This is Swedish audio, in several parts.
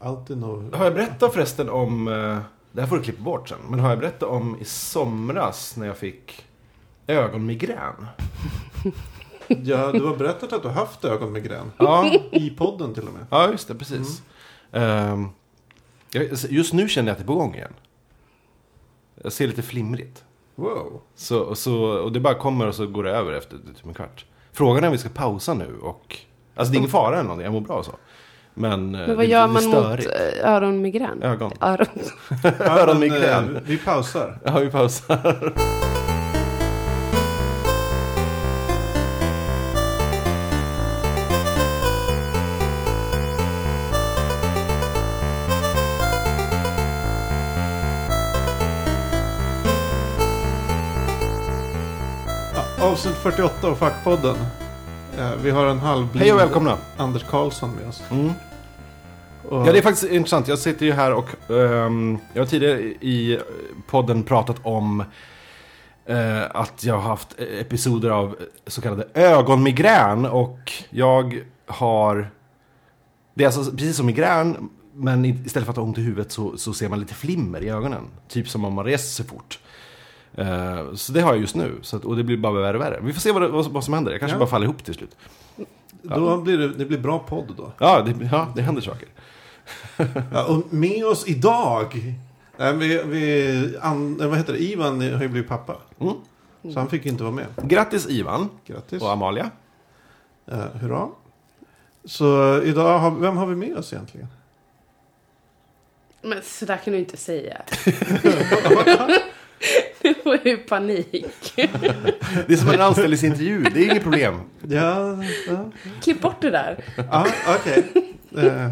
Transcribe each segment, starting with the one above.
alltid något... Har jag berättat förresten om... eh, Det här får du klippa bort sen. Men har jag berättat om i somras när jag fick ögonmigrän? Ja, du har berättat att du har haft ögonmigrän. Ja, I podden till och med. ja just det. Precis. Ehm, jag- just nu känner jag att det är på gång igen. Jag ser lite flimrigt. Wow. Så, och, så, och det bara kommer och så går det över efter typ en kvart. Frågan är om vi ska pausa nu och... Alltså det är ingen fara eller någonting, jag mår bra och så. Men, eh, Eh, Men vad gör man mot eh, öronmigrän? Ögon. Öron. Öronmigrän. Men, eh, Vi pausar. Ja, vi pausar. Ja, Avsnitt 48 av Fackpodden. Eh, Vi har en halvblind Hej och välkomna. Anders Karlsson med oss. Och, Ja, det är faktiskt intressant. Jag sitter ju här och ehm, jag har tidigare i podden pratat om eh, att jag har haft episoder av så kallade ögonmigrän och jag har... Det är alltså precis som migrän, men i- istället för att ha ont i huvudet så, så ser man lite flimmer i ögonen. Typ som om man reser sig fort. Eh, så det har jag just nu, så att, och det blir bara värre och värre. Vi får se vad, det, vad, vad som händer, jag kanske Ja. bara faller ihop till slut. Då blir det, det blir bra podd då. Ja, det, ja, det händer saker. Ja, och med oss idag. Nej, vi, vi, an, eh, vad heter det? Ivan har ju blivit pappa. Mm. Så han fick ju inte vara med. Grattis Ivan Grattis. och Amalia. Eh, hurra. Så idag, har, vem har vi med oss egentligen? Men så där kan du inte säga. Nu får jag ju panik. Det är som en anställningsintervju, det är inget problem. Ja, ja. Klipp bort det där. Ja, Ah, okej. Eh,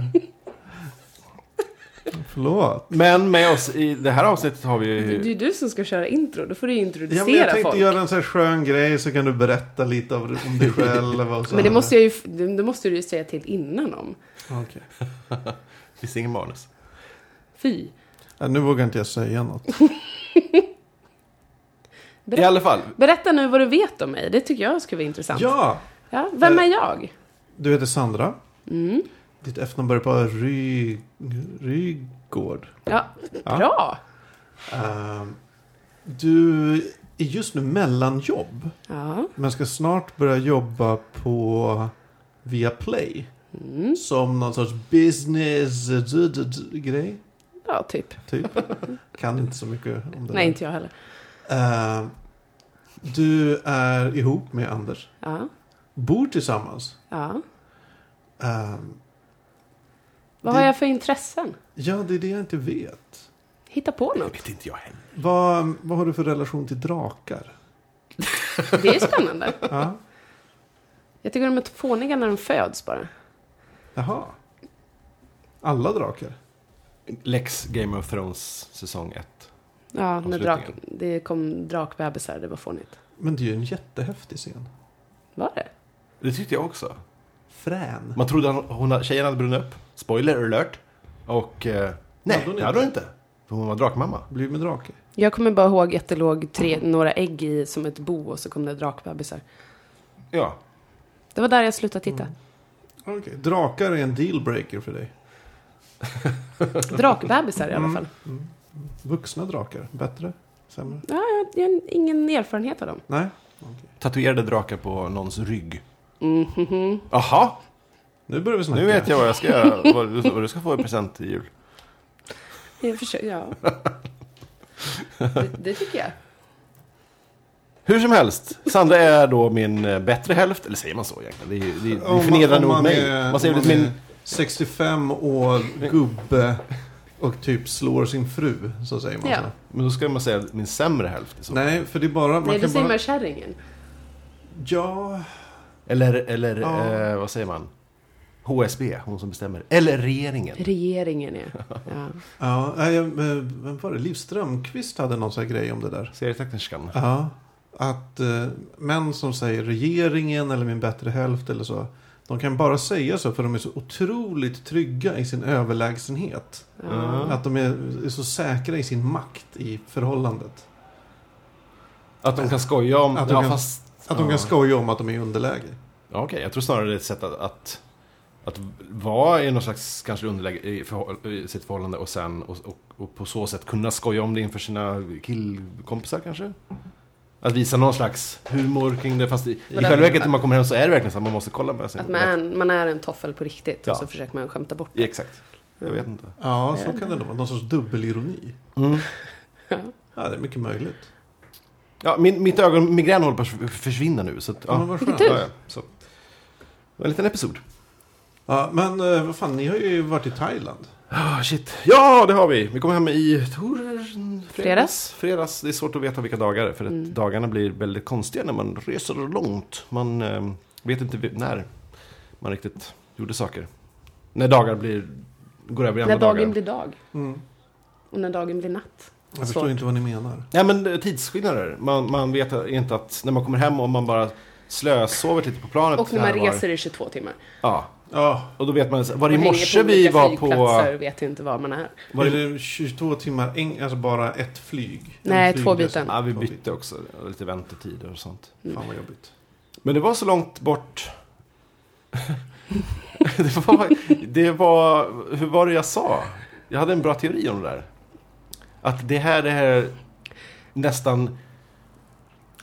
Förlåt. Men med oss i det här avsnittet har Det är vi ju du som ska köra intro. Då får du ju introducera Ja, men jag tänkte folk. göra en sån här skön grej så kan du berätta lite av- om dig själv. Och så Men det måste, jag ju, det måste du ju säga till innan om. jag... okay. Vi ser ingen manus. Fy. ja, Nu vågar inte jag säga något. I alla fall, Berätta nu vad du vet om mig. Det tycker jag skulle vara intressant. Ja, Ja, vem är jag? Mm, du heter Sandra. Ditt efternamn börjar på Ry... Rygård. Ja, bra. Eh, du är just nu mellanjobb. Ja. Men ska snart börja jobba på Viaplay. Mm, Som någon sorts business d- d- d- grej. ja, typ. Typ. kan inte så mycket om det Nej, där. inte jag heller. Eh, du är ihop med Anders. Ja, Bor tillsammans. ja. Eh, Vad Det- har jag för intressen? ja, det är det jag inte vet. Hitta på det något. vet inte jag heller. Vad, vad har du för relation till drakar? Det är ju spännande. Ja. Jag tycker de är fåniga när de föds bara. Jaha. Alla drakar? Lex Game of Thrones säsong 1. Ja, när drak, Avslutningen. det kom drakbebisar. Det var fånigt. Men det är ju en jättehäftig scen. Var det? Det tyckte jag också. Frän. Man trodde hon, hon, tjejen hade brunnit upp. Spoiler alert. Och eh, nej, Hade hon det hade hon inte. För hon var drakmamma. Blir med drake. Jag kommer bara ihåg att det låg tre, några ägg i som ett bo och så kom det drakbebisar. Ja. Det var där jag slutade titta. Okej, Drakar är en dealbreaker för dig. Drakbebisar i alla fall. Mm. Vuxna drakar, bättre? Sämre? Jag har ingen erfarenhet av dem. Nej? Tatuerade drakar på någons rygg. Mm-hmm. Jaha, Nu börjar vi snacka. nu vet jag vad jag ska göra. Vad du, vad du ska få i present till jul. Jag försöker, ja. Det, det tycker jag. Hur som helst, Sandra är då min eh, bättre hälft, eller säger man så egentligen? Det, är- det, är- det förnedrar nog mig. man säger om väl min... är 65 år gubbe och typ slår sin fru, så säger man Ja. så. Men då ska man säga min sämre hälft i så fall. Nej, för det är bara... Man Nej, då kan säger bara... man kärringen. Ja, Eller, eller Ja. eh, vad säger man? HSB, hon som bestämmer. Eller regeringen. Regeringen, ja. ja. ja nej, jag- men vem var det? Liv Strömquist hade någon sån här grej om det där. Serieteknikerskan. Ja, att eh, män som säger regeringen eller min bättre hälft eller så. De kan bara säga så för de är så otroligt trygga i sin överlägsenhet. Ja. Att de är, är så säkra i sin makt i förhållandet. Att de kan skoja om... Att de ja, kan- fast... Att de Ja. kan skoja om att de är i underläge. Ja, Okej, jag tror snarare det är ett sätt att, att Att vara i någon slags kanske underläge i, förhå- i sitt förhållande och sen och, och, och på så sätt kunna skoja om det inför sina killkompisar kanske? Att visa någon slags humor kring det fast i, i Men det- själva verket när man kommer hem så är det verkligen så att man måste kolla med sin Att man är, en- man är en toffel på riktigt Ja. och så försöker man skämta bort det. Exakt. Jag vet inte. Ja, så kan det nog vara. Någon sorts dubbelironi. Ja, det är mycket möjligt. Ja, min, mitt ögon, migrän håller på att försvinna nu. Så att, Ja, Mm. men ja. vad skönt. Ja, ja, så. Det var en liten episod. Ja, men eh, vad fan, ni har ju varit i Thailand. Ah, shit. Ja, det har vi. Vi kommer hem i tor... Fredags. Mm. Fredags. Det är svårt att veta vilka dagar. det är, För att dagarna blir väldigt konstiga när man reser långt. Man eh, vet inte vi- när man riktigt gjorde saker. När dagar blir... Går över i andra När dagar. dagen blir dag Mm. och när dagen blir natt. Jag förstår inte vad ni menar. Nej men eh, tidsskillnader. Man, man vet inte att när man kommer hem och man bara slösover lite på planet. Och när man här var- reser i 22 timmar. Ja. Ja, Och då vet man, så- var det i Man hänger morse på vi olika var på... flygplatser och vet inte var man är. var det 22 timmar, en, alltså bara ett flyg? En Nej, två flygresa. byten. Mm. Ja, vi bytte också. Lite väntetider och sånt. Fan vad jobbigt. Men det var så långt bort. det, var, det var... Hur var det jag sa? Jag hade en bra teori om det där. Att det här är nästan...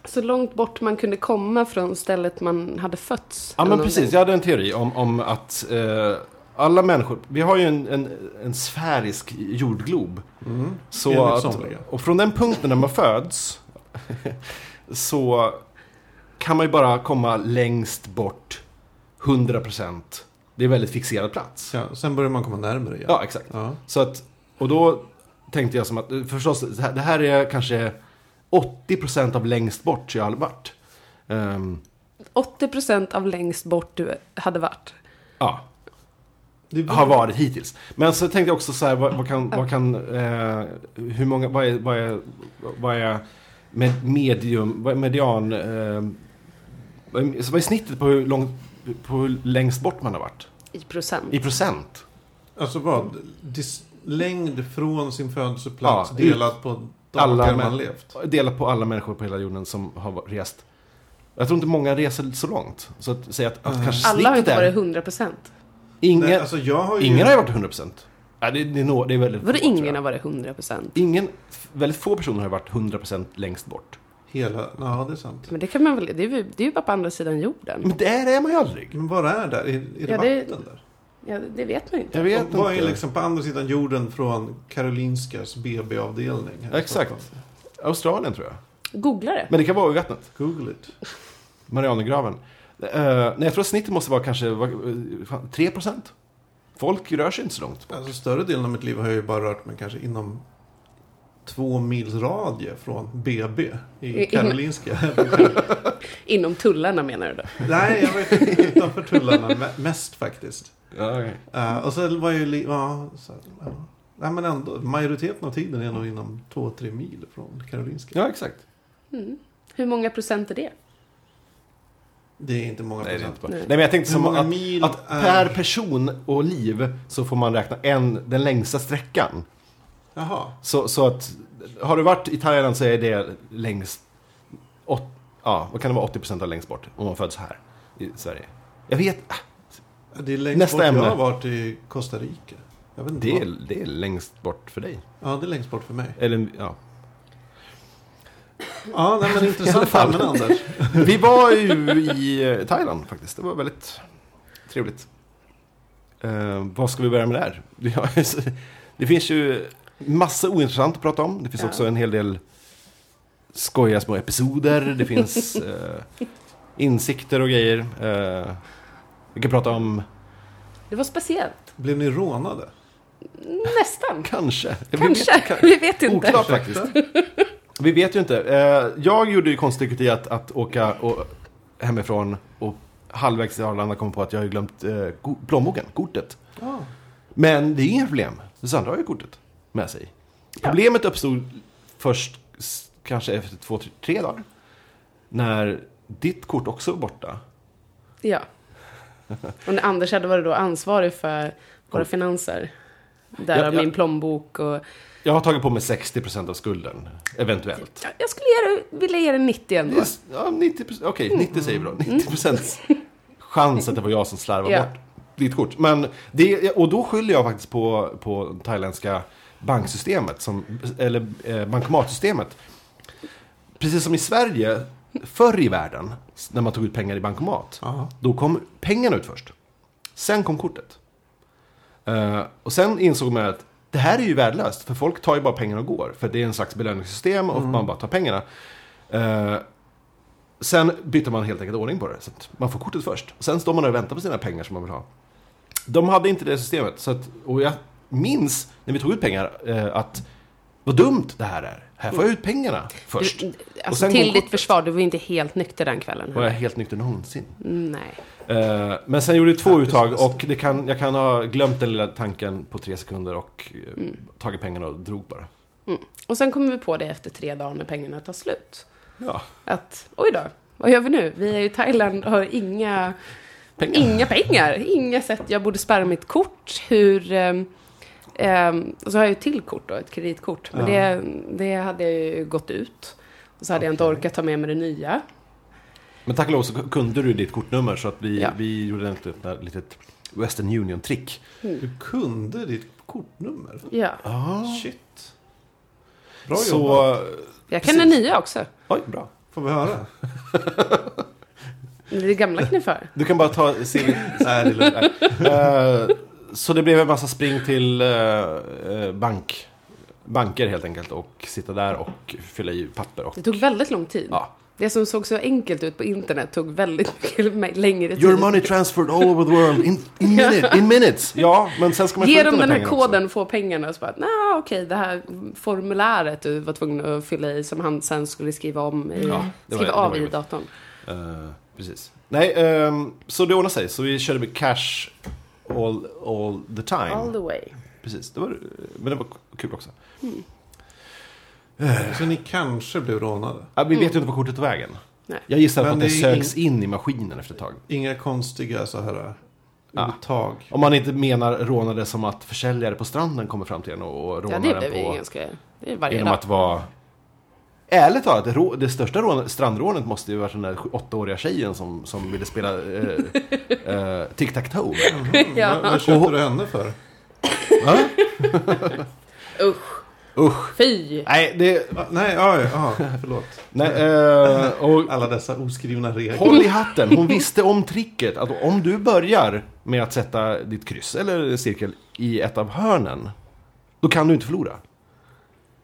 Så långt bort man kunde komma från stället man hade fötts. Ja, eller men någonting. precis. Jag hade en teori om, om att eh, alla människor... Vi har ju en, en, en sfärisk jordglob. Så Mm. Enligt att, somliga. och från den punkten när man föds så kan man ju bara komma längst bort 100%. Det är en väldigt fixerad plats. Ja, sen börjar man komma närmare igen. Ja, exakt. Ja. Så att, och då tänkte jag som att, eh, förstås, det här- det här är kanske 80% av längst bort jag har varit. Ehm, 80% av längst bort du hade varit. ja, Det har varit hittills. Men så tänkte jag också så här, vad, vad kan, vad kan eh, hur många, vad är, vad är, vad är med medium, vad är median, eh, vad är, så vad är snittet på hur långt, på hur längst bort man har varit? I procent. I procent? Alltså vad? Dis- längd från sin födelseplats Ja, delat på dagar alla män- man levt. Delat på alla människor på hela jorden som har va- rest. Jag tror inte många reser så långt. Så att säga att, att Mm. kanske Alla har snittet inte är, varit 100%. ingen, Nej, alltså jag har ju... ingen har ju varit 100 procent. Nej, det, det, är nå- det är väldigt Vadå få, tror ingen jag. har varit 100%? Ingen, väldigt få personer har varit 100 procent längst bort. Hela... Ja, det är sant. Men det kan man väl, det är ju, det är ju bara på andra sidan jorden. Men där är man ju aldrig. Men vad är där? Är, är det Ja, det- vatten där? Ja, det vet man ju inte. Jag vet Och Vad är inte. liksom på andra sidan jorden från Karolinskas BB-avdelning? här i Exakt. Stockholm? Australien tror jag. Googla det. Men det kan vara i vattnet. Google it. Marianergraven. Eh, nej, jag tror att snittet måste vara kanske va- eh, fan, 3%. Folk rör sig inte så långt. Alltså större delen av mitt liv har jag ju bara rört mig kanske inom två mils radie från BB i I- Karolinska. Inom tullarna menar du då? Nej, jag var ju utanför tullarna me- mest faktiskt. Ja, okay. Eh, och så var jag ju... Li- ja, så, ja. Nej, men ändå, majoriteten av tiden är nog inom två, tre mil från Karolinska. ja exakt. Mm. Hur många procent är det? Det är inte många Nej, det är procent. inte bara. Nej. nej, men jag tänkte Hur som många att, mil att är- per person och liv så får man räkna en, den längsta sträckan. Jaha. Så, så att har du varit i Thailand så är det längst... Åt, ja, vad kan det vara? 80% av längst bort om man föds här i Sverige. Jag vet... ah, Det är längst Nästa bort ämne. jag har varit i Costa Rica. Jag vet inte Det är, vad- det är längst bort för dig. Ja, det är längst bort för mig. Eller, ja. Ja, nej, men intressant fall. allmän Anders. Vi var ju i eh, Thailand faktiskt. Det var väldigt trevligt. Eh, vad ska vi börja med där? Vi har- Det finns ju massa ointressant att prata om. Det finns Ja. också en hel del skojiga små episoder. Det finns eh, insikter och grejer. Eh, vi kan prata om Det var speciellt. Blev ni rånade? Nästan. kanske. Kanske. kan- Vi vet inte. Oklart faktiskt. Vi vet ju inte. Eh, Jag gjorde ju konststycket i att, att åka och, hemifrån och halvvägs till Arlanda kom på att jag har ju glömt eh, go- plånboken, kortet. Ja. Men det är inga problem. Sandra har ju kortet med sig. Problemet uppstod först s- kanske efter två, tre, tre dagar. När ditt kort också var borta. Ja. Och när Anders hade varit då ansvarig för våra finanser. Därav Ja, ja. min plånbok och... Jag har tagit på mig 60% av skulden, eventuellt. Ja, Jag skulle ge dig, vilja ge dig 90 ändå. Just, ja, 90 Okej, 90 säger vi då. 90 chans att det var jag som slarvade Ja. bort ditt kort. Men det, och då skyller jag faktiskt på, på thailändska banksystemet, som, eller eh, bankomatsystemet. Precis som i Sverige, förr i världen, när man tog ut pengar i bankomat, Aha. då kom pengarna ut först. Sen kom kortet. Eh, och sen insåg man att det här är ju värdelöst, för folk tar ju bara pengarna och går. För det är en slags belöningssystem och man bara tar pengarna. Eh, sen byter man helt enkelt ordning på det, så att man får kortet först. Och sen står man där och väntar på sina pengar som man vill ha. De hade inte det systemet, så att, och jag minns när vi tog ut pengar eh, att vad dumt det här är. Här får jag ut pengarna först. Du, Och alltså, sen till går ditt kortet. försvar, du var ju inte helt nykter den kvällen. Var jag helt nykter någonsin? Nej. Eh, men sen gjorde jag två Ja, uttag precis. och det kan, jag kan ha glömt den lilla tanken på tre sekunder och eh, tagit pengarna och drog bara. Och sen kommer vi på det efter tre dagar när pengarna tar slut. Ja, Att, oj då, vad gör vi nu? Vi är i Thailand och har inga pengar. Inga pengar, inga sätt. Jag borde spärra mitt kort. Hur... ehm, ehm, och så har jag ju ett till kort då, ett kreditkort. Men det, det hade jag ju gått ut. Och så hade jag inte orkat ta med mig det nya. Men tack och lov så kunde du ditt kortnummer så att vi, Ja. vi gjorde ett litet, litet Western Union-trick. Du kunde ditt kortnummer. Ja. Shit. Ah, Bra jobbat. så, eh, Jag kan det nya också. oj, bra. Får vi höra? Det gamla knifar. Du kan bara ta CV. Nej, det är lugnt. Nej. Eh, Så det blev en massa spring till eh, eh, bank, banker helt enkelt och sitta där och fylla i papper. Och, Det tog väldigt lång tid. ja. Det som såg så enkelt ut på internet tog väldigt mycket me- längre tid. Your money transferred all over the world in, in, minute, in minutes. Ja, men sen ska man få Ge ut dem den här pengarna också. koden, få pengarna och så bara, nej okej, det här formuläret du var tvungen att fylla i som han sen skulle skriva om i, Ja, det var- skriva det Mm. av var i jobbigt. datorn. Eh, precis. Nej, ehm, så det ordnade sig. Så vi körde med cash all, all the time. All the way. Precis, det var, men det var kul också. Så ni kanske blev rånade. Ja, vi vet ju inte vad kortet tog vägen. Mm. Nej. Jag gissar på Men att det det är sögs in i maskinen efter ett tag. Inga konstiga så här eh, Ah. uttag. Om man inte menar rånade som att försäljare på stranden kommer fram till en och och Ja, rånar den det blev på... ju ganska... Det är varje Genom dag. att vara... Ärligt talat, det, rå, det största rån, strandrånet måste ju varit den där sju- åttaåriga tjejen som, som ville spela eh, eh, tic-tac-toe. Ja. Vad, vad köpte du henne för? Va? Usch, Usch. fy! Nej, det... Ah, nej, oj, ah, förlåt. Nej, eh, och Alla dessa oskrivna regler. håll i hatten, hon visste om tricket. Att om du börjar med att sätta ditt kryss eller cirkel i ett av hörnen, då kan du inte förlora.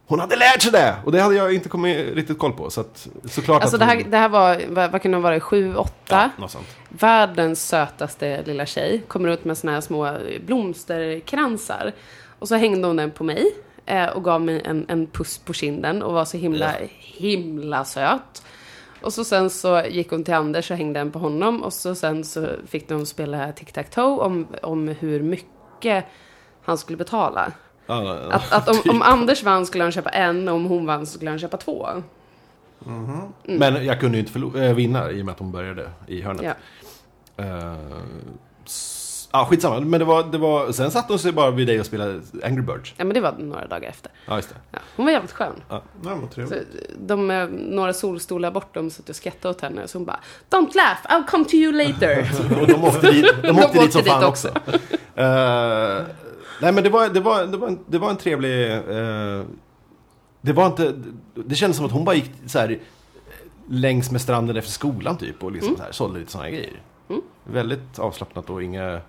Hon hade lärt sig det! Och det hade jag inte kommit riktigt koll på. Så att, såklart Alltså att det här, hon, det här var, vad, vad kan det ha varit, sju, åtta? något sånt. Världens sötaste lilla tjej. Kommer ut med såna här små blomsterkransar. Och så hängde hon den på mig. Eh, och gav mig en, en puss på kinden och var så himla, himla söt. Och så sen så gick hon till Anders och hängde den på honom. Och så sen så fick de spela tic-tac-toe om, om hur mycket han skulle betala. Ja, ja, ja. Att, att om, om Anders vann skulle han köpa en, om hon vann skulle han köpa två. Men jag kunde ju inte förlo- eh, vinna i och med att hon började i hörnet. Ja. Eh, s- Ja, skitsamma. Men det var, det var... Sen satt hon sig bara vid dig och spelade Angry Birds. ja, men det var några dagar efter. Ja, just det. Ja. Hon var jävligt skön. Nej, vad Så trevligt. de, eh, några solstolar bort, de satt och skrattade åt henne. Så hon bara “Don't laugh, I'll come to you later”. Och de åkte dit, de åkte dit som åkte fan dit också. Eh, nej, men det var, det var, det var, en, det var en trevlig... eh, det var inte... Det kändes som att hon bara gick så här eh, längs med stranden efter skolan typ och liksom så här, sålde lite sådana grejer. Väldigt avslappnat och inga...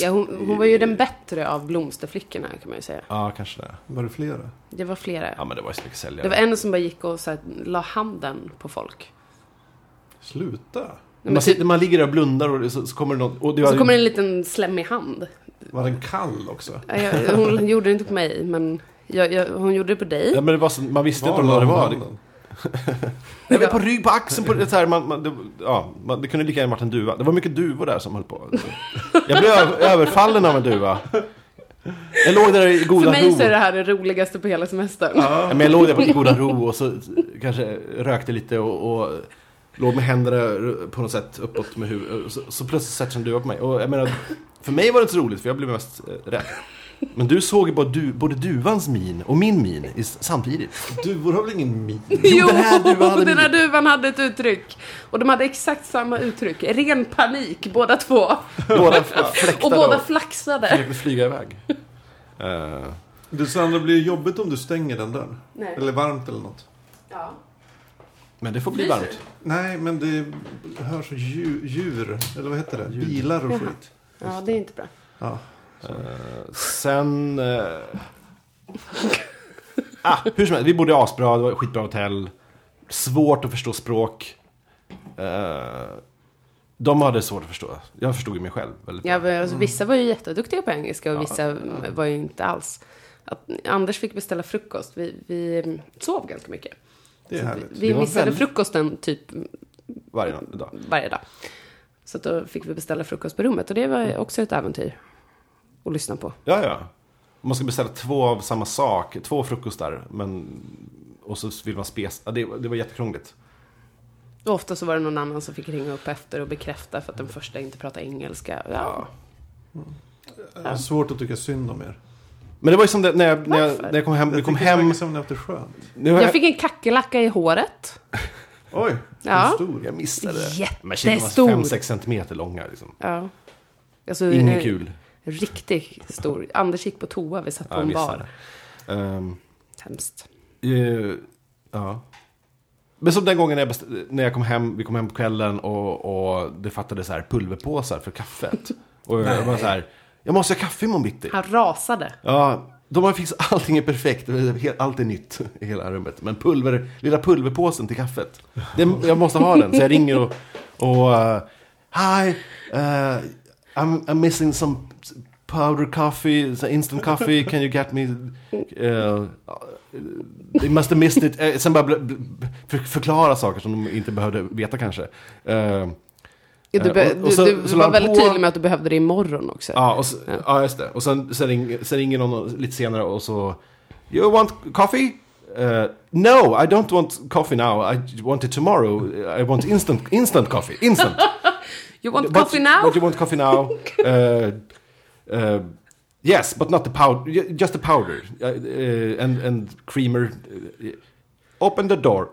ja, hon, hon var ju den bättre av blomsterflickorna kan man ju säga. Ja, kanske det. Var det flera? Det var Ja, flera. men det var ju så mycket säljare. Det var en som bara gick och så här, la handen på folk. Sluta. man, sitter, man ligger där och blundar och så, så kommer det något... Och det Och var- så kommer en liten slemmig hand. Var den kall också? Ja, jag- Hon gjorde det inte på mig, men jag, jag, hon gjorde det på dig. Ja, men det var så, man visste Var inte vad det var. någon Det, annan? Nej, men på rygg, på axeln, på det, så här, man, man, det, ja, man, det kunde lika gärna varit en duva. Det var mycket duvor där som höll på. Jag blev ö- överfallen av en duva. Jag låg där i För goda mig ro. så är det här det roligaste på hela semestern. Ja, men jag låg där i goda ro och så kanske rökte lite och, och låg med händerna på något sätt uppåt med huvudet. Så, så plötsligt sätter sig en duva på mig. Och jag menar, för mig var det inte så roligt för jag blev mest eh, rädd. Men du såg ju både, du, både duvans min och min min i, samtidigt. Duvor har väl ingen min? Jo, den här duvan hade den här min. duvan hade ett uttryck. Och de hade exakt samma uttryck. Ren panik båda två. Båda fläktade Och båda flaxade. försökte flyga iväg. Eh, Du Sandra, blir det jobbigt om du stänger den dörren? Nej. Eller varmt eller något? Ja. men det får bli Lyser. varmt. Nej, men det hörs djur, djur eller vad heter det? Ljud. Bilar och Jaha. skit. ja, det är inte bra. Ja. Eh, sen... eh, ah, hur som helst, vi bodde asbra, det var ett skitbra hotell. Svårt att förstå språk. Eh, de hade svårt att förstå. Jag förstod ju mig själv väldigt Ja, men alltså, vissa var ju jätteduktiga på engelska och vissa mm, var ju inte alls. Att Anders fick beställa frukost. Vi, vi mm, sov ganska mycket. Det är härligt. Vi Det var missade väldigt- frukosten typ mm, varje dag. varje dag. Så att då fick vi beställa frukost på rummet och det var också ett äventyr att lyssna på. Ja, ja. Om Man ska beställa två av samma sak, två frukostar. Men, och så vill man spes... Ja, det, det var jättekrångligt. Och ofta så var det någon annan som fick ringa upp efter och bekräfta för att den första inte pratade engelska. Ja. Det är svårt att tycka synd om er. Men det var ju som det, när, jag, när, jag, Varför? när jag kom hem. Vi Jag kom tycker det hem verkar som ni har haft det skönt. nu har Jag fick en kackerlacka i håret. Oj, Ja. hur stor? jag missade det. Men shit, de Jättestor. var 5-6 centimeter långa. Liksom. Ja. Alltså, Ingen eh, kul. Riktigt stor. Anders gick på toa, vi satt på Ja, jag en missade bar. det. Ehm, Hemskt. Eh, ja. Men som den gången när jag, best- när jag kom hem, vi kom hem på kvällen och, och det fattades så här pulverpåsar för kaffet. Och jag var så här, jag måste ha kaffe imorgon bitti. Han rasade. Ja, de har fixat allting är perfekt, allt är nytt i hela rummet. Men pulver, lilla pulverpåsen till kaffet, den, jag måste ha den. Så jag ringer och, och eh, hi, eh, I'm, I'm missing some powder coffee, so instant coffee, can you get me? eh, they must have missed it. Eh, sen bara bl- bl- för, förklara saker som de inte behövde veta kanske. Eh, Ja, du, be- och- och så- du, du så la var han väldigt på- tydlig med att du behövde det imorgon också. Ja, och så, ja, just det. Och sen, sen, ring, sen ringer någon lite senare och så... You want coffee? Eh, no, I don't want coffee now. I want it tomorrow. I want instant, instant coffee. Instant. You want But- coffee now? But you want coffee now? Eh, eh, yes, but not the powder. ju- Just the powder. Eh, eh, and, and creamer. Eh, open the door.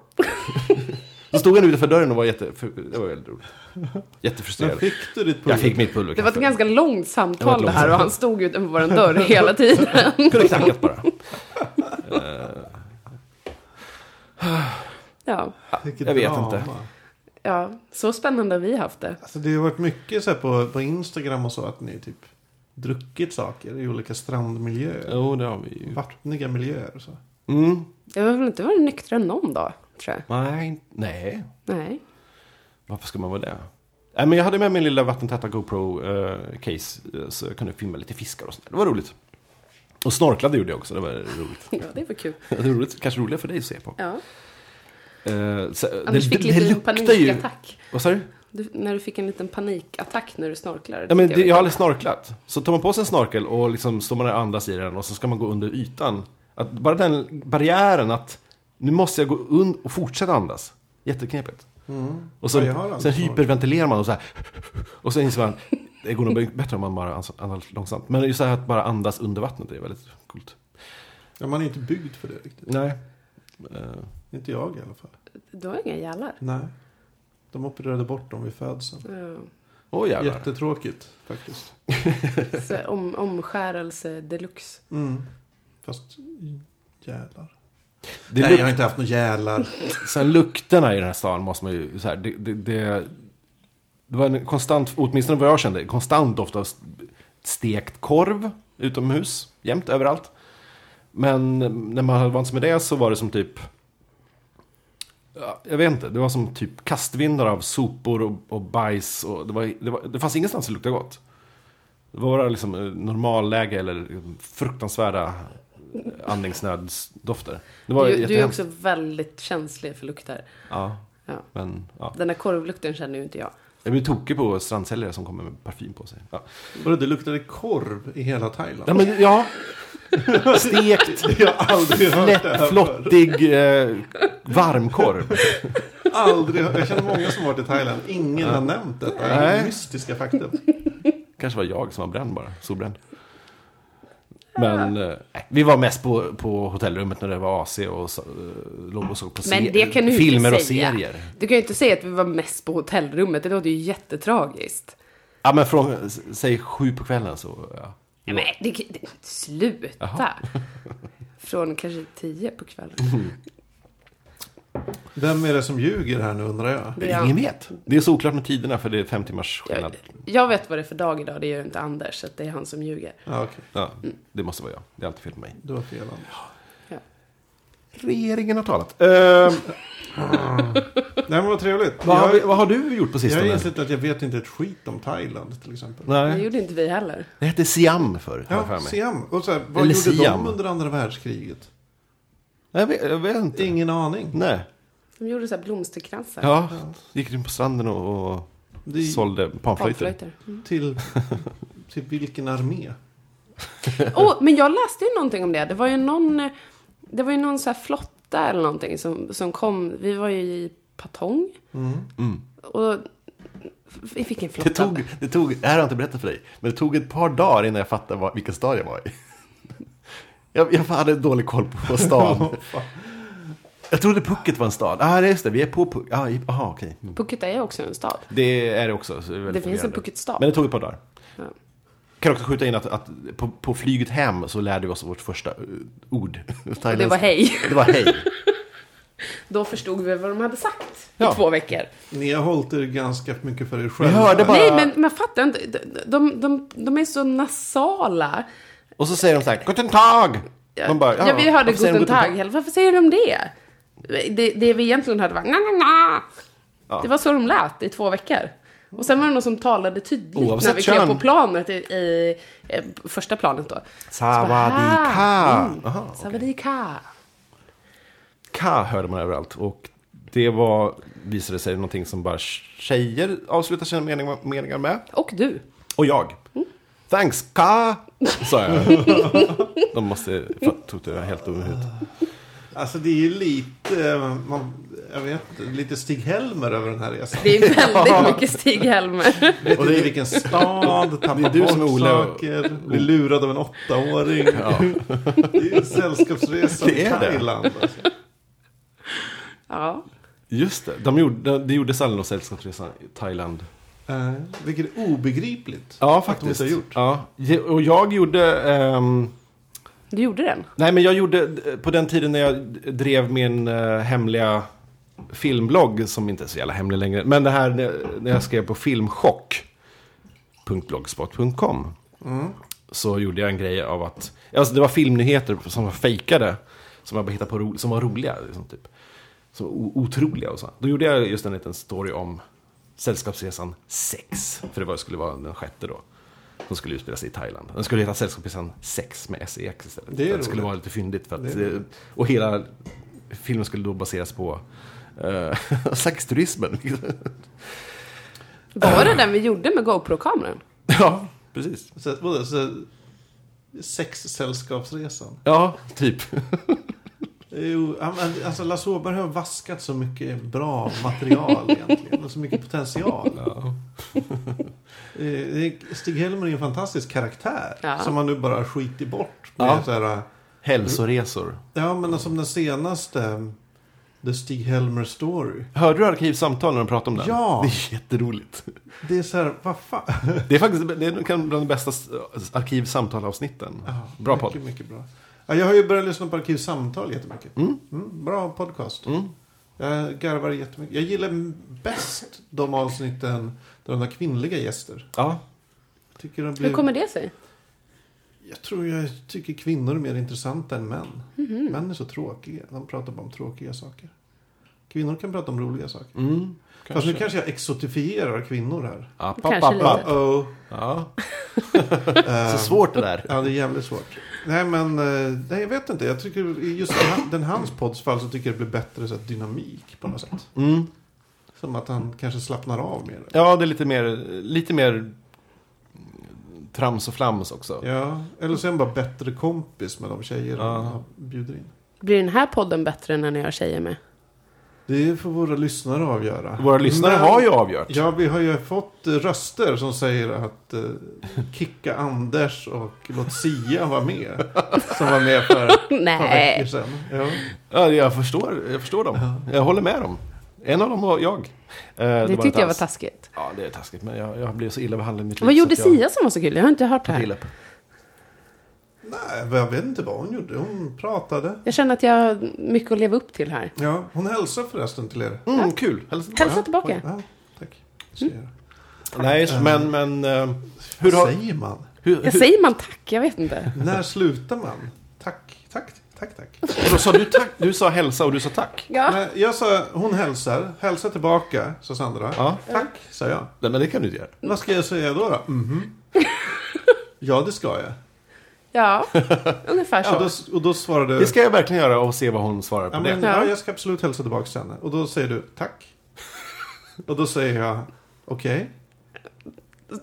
Då stod han utanför dörren och var jätte... för- Det var väldigt roligt. Men Jättefrustrerad. fick du ditt pulver? Jag fick mitt pulver. Det var ett ganska långt samtal Det det, var ett långt här och samtal. han stod utanför vår dörr hela tiden. Kunde knackat bara. Eh, Ja, Vilket Jag vet drama. inte. ja. så spännande har vi haft det. Alltså, det har varit mycket så här på, på Instagram och så att ni typ druckit saker i olika strandmiljöer. Jo, det har vi ju. Vattniga miljöer. Så. Mm. Jag har väl inte varit nyktrare någon dag, tror jag. Nej, nej. Nej. Varför ska man vara det? Nej, men jag hade med mig lilla vattentäta GoPro-case. eh, så jag kunde filma lite fiskar och sånt. där. Det var roligt. Och snorklade gjorde jag också. Det var roligt. Ja, det var kul. det var roligt. Kanske roligare för dig att se på. Ja. Eh, så, det, Anders fick det, lite det en luktar ju... panikattack. Vad sa du? Du, när du fick en liten panikattack när du snorklade. Ja, men tyckte det, jag var har aldrig snorklat. Så tar man på sig en snorkel och liksom står man där och andas i den och så ska man gå under ytan. Att bara den barriären att nu måste jag gå under och fortsätta andas. Jätteknepigt. Och Mm. Ja, jag har så, aldrig sen snorklat. hyperventilerar man och så här. Och sen inser man det går nog bättre om man bara ans- andas långsamt. Men just det här att bara andas under vattnet är väldigt coolt. Ja, man är inte byggd för det riktigt. Nej. Eh, Inte jag i alla fall. kul. Du har inga gälar. Nej. De opererade bort dem vid födseln. Ja. Åh jävlar. Jättetråkigt faktiskt. Så Om, omskärelse deluxe. Mm. Fast jälar. Det Nej, luk- jag har inte haft några jälar. Sen lukterna i den här stan måste man ju så här, det, det, det, det var en konstant, åtminstone vad jag kände, konstant doft av stekt korv utomhus, jämt överallt. Men när man hade vant sig med det så var det som typ, ja, jag vet inte, det var som typ kastvindar av sopor och, och bajs och det, var, det, var, det fanns ingenstans det luktade gott. Det var bara liksom eh, normalläge eller eh, fruktansvärda eh, andningsnödsdofter. Det var Du, du är jättehemskt. också väldigt känslig för lukter. Ja. Ja. Men ja. Den där korvlukten känner ju inte jag. Jag blir tokig på strandsäljare som kommer med parfym på sig. Ja, Vadå, det luktade korv i hela Thailand? ja men ja. Stekt, Jag har aldrig hört det här lätt, förr. flottig eh, varmkorv. Aldrig hört. Jag känner många som varit i Thailand. Ingen har nämnt detta. Det är Nej. mystiska faktum. Kanske var jag som var bränd bara, solbränd. Men eh, vi var mest på, på hotellrummet när det var AC och så, eh, låg och såg på Men se- det kan du ju filmer och inte säga. serier. Du kan ju inte säga att vi var mest på hotellrummet. Det låter ju jättetragiskt. Ja, men från, s- säg sju på kvällen så... Ja. Nej, men det, kan- det, sluta. Från kanske tio på kvällen. Mm. Vem är det som ljuger här nu undrar jag? Ja. Ingen vet. Det är så oklart med tiderna för det är fem timmars Jag, skillnad. jag vet vad det är för dag idag, det gör inte Anders. Så att det är han som ljuger. Ja, okej. Ja, det måste vara jag. Det är alltid fel på mig. Du har fel Anders. Regeringen har talat. Eh, Nej men vad trevligt. vad, har vi, jag, vad har du gjort på jag har sistone? insett att jag vet inte ett skit om Thailand till exempel. Det Nej. gjorde inte vi heller. Det hette Siam förr, har jag för Ja, mig. Siam. Och så här, vad Eller gjorde Siam. de under andra världskriget? Nej, Jag vet, jag vet inte. Ingen aning. Nej. De gjorde så här blomsterkransar. Ja, gick in på stranden och, och Det är sålde panflöjter. Panflöjter. till, till vilken armé? Mm. Åh, men jag läste ju någonting om det. Det var ju någon, eh, det var ju någon så här flotta eller någonting som, som kom. Vi var ju i Patong. Mm. Och vi fick en flotta. Det tog, det tog, det här har jag inte berättat för dig, men det tog ett par dagar innan jag fattade vad, vilken stad jag var i. Jag, jag hade dålig koll på stan. Jag trodde Phuket var en stad. Ja, ah, just det, vi är på Phuket. Ah, i- Jaha, okej. Mm. Phuket är också en stad. Det är det också. Så det är Det väldigt finns en fungerande. Phuketstad. Men det tog ett par dagar. Ja. Kan också skjuta in att, att på, på flyget hem så lärde vi oss vårt första eh, ord. Och det var hej. Det var hej. Då förstod vi vad de hade sagt Ja. i två veckor. Ni har hållit er ganska mycket för er Vi själva. hörde bara... Nej, men man fattar inte. De, de, de, de är så nasala. Och så säger de så här, Guten Tag! Man bara, ja, vi hörde varför säger de guten tag. Eller Varför säger de det? Det, det vi egentligen hörde var na, na, na. Ja. Det var så de lät i två veckor. Och sen var det någon som talade tydligt Oavsett när vi klev kön. på planet i, i, eh, första planet då. Savadika. Aha, Mm, Savadika. Ka hörde man överallt. Och det var, visade sig, någonting som bara tjejer avslutar sina meningar, meningar med. Och du. Och jag. Mm. Thanks Ka! Sa jag. De måste, fan, tog det helt över huvudet. Alltså det är ju lite, eh, man, jag vet inte, lite Stig-Helmer över den här resan. Det är väldigt mycket Stig-Helmer. Vet inte vilken stad, Det tappar är du som är bort Olle och- saker, blir lurad av en åttaåring. Det är ju en sällskapsresa Det till är det. Thailand. Alltså. Ja. Just det, de gjorde, det gjorde Sallin och Sällskapsresan i Thailand. Eh, vilket är obegripligt. Ja, att de faktiskt. inte har gjort. Ja, och jag gjorde... ehm, Du gjorde den. Nej, men jag gjorde eh, på den tiden när jag d- drev min eh, hemliga filmblogg, som inte är så jävla hemlig längre, men det här när- när jag skrev på filmchock.blogspot.com så gjorde jag en grej av att, alltså det var filmnyheter som var fejkade, som jag bara hittade på, ro, som var roliga, liksom, typ. Som var o- otroliga och så. Då gjorde jag just en liten story om Sällskapsresan 6, för det var, skulle vara den sjätte då. Som skulle utspelas i Thailand. Den skulle heta Sällskapsresan 6 med SEX istället. Det är För att det skulle roligt. vara lite fyndigt. För att, Det är eh, och hela filmen skulle då baseras på eh, sexturismen. Var det den vi gjorde med GoPro-kameran? ja, precis. Så, vadå, så, Sexsällskapsresan. Ja, typ. Jo, ja, men, alltså Lasse Åberg har vaskat så mycket bra material egentligen. Och så mycket potential. Eh, Stig-Helmer är en fantastisk karaktär. Ja. Som man nu bara har skitit bort. Med Ja. så här, Hälsoresor. ja, men som den senaste. The Stig-Helmer Story. Hörde du Arkivsamtal när de pratade om den? Ja. Det är jätteroligt. Det är så här, vad fan. Det är faktiskt det är nog bland de bästa s- Arkivsamtal-avsnitten. Bra mycket, podd. Mycket bra. Ja, jag har ju börjat lyssna på Arkivsamtal jättemycket. Mm, bra podcast. mm. Jag garvar jättemycket. Jag gillar bäst de avsnitten där de har kvinnliga gäster. Ja. Jag, tycker de Hur blir, kommer det sig? jag tror jag tycker kvinnor är mer intressanta än män. Mhm. Män är så tråkiga. De pratar bara om tråkiga saker. Kvinnor kan prata om roliga saker. Mm. Fast nu kanske jag exotifierar kvinnor här. App, Kanske app, app, lite. app. Oh, Ja. Ehm. eh, Så svårt det där. Ja, det är jävligt svårt. Nej, men eh, nej, jag vet inte. Jag tycker i just den, här- den hans podds fall så tycker jag det blir bättre så här, dynamik på något sätt. Mm. Som att han kanske slappnar av mer. Ja, det är lite mer, lite mer trams och flams också. Ja, eller så är han bara bättre kompis med de tjejer Ja. han bjuder in. Blir den här podden bättre när ni har tjejer med? Det får våra lyssnare avgöra. Våra lyssnare Men- har ju avgjort. Ja, vi har ju fått eh, röster som säger att eh, Kicka Anders och låt Sia vara med. Som var med för ett par veckor Nej. sedan. Ja. Ja, jag, förstår, jag förstår dem. Jag håller med dem. En av dem var jag. Eh, Det, inte tyckte jag var alls- taskigt. Ja, det är taskigt. Men jag, jag blev så illa behandlad i mitt liv. Vad så gjorde att jag- Sia som var så kul? Jag har inte hört det här. Filip. Nej, men jag vet inte vad hon gjorde. Hon pratade. Jag känner att jag har mycket att leva upp till här. Ja, hon hälsar förresten till er. Mm, kul. Hälsa Hälsa tillbaka. Ja, tack. Mm. Nej, men, men eh, hur Vad har... säger man? Hur, Jag hur, säger man tack? Jag vet inte. När slutar man? Tack, tack, tack, tack. då sa du, tack, du sa hälsa och du sa tack. Ja. Nej, jag sa, hon hälsar. Hälsa tillbaka, sa Sandra. Ja. Tack, sa jag. Nej, men det kan du inte göra. Vad ska jag säga då? då? Mhm. ja, det ska jag. Ja, ungefär Ja, så. då, och då svarade Det ska jag verkligen göra och se vad hon svarar på ja, det. men, ja, jag ska absolut hälsa tillbaka till henne. Och då säger du tack. och då säger jag okej.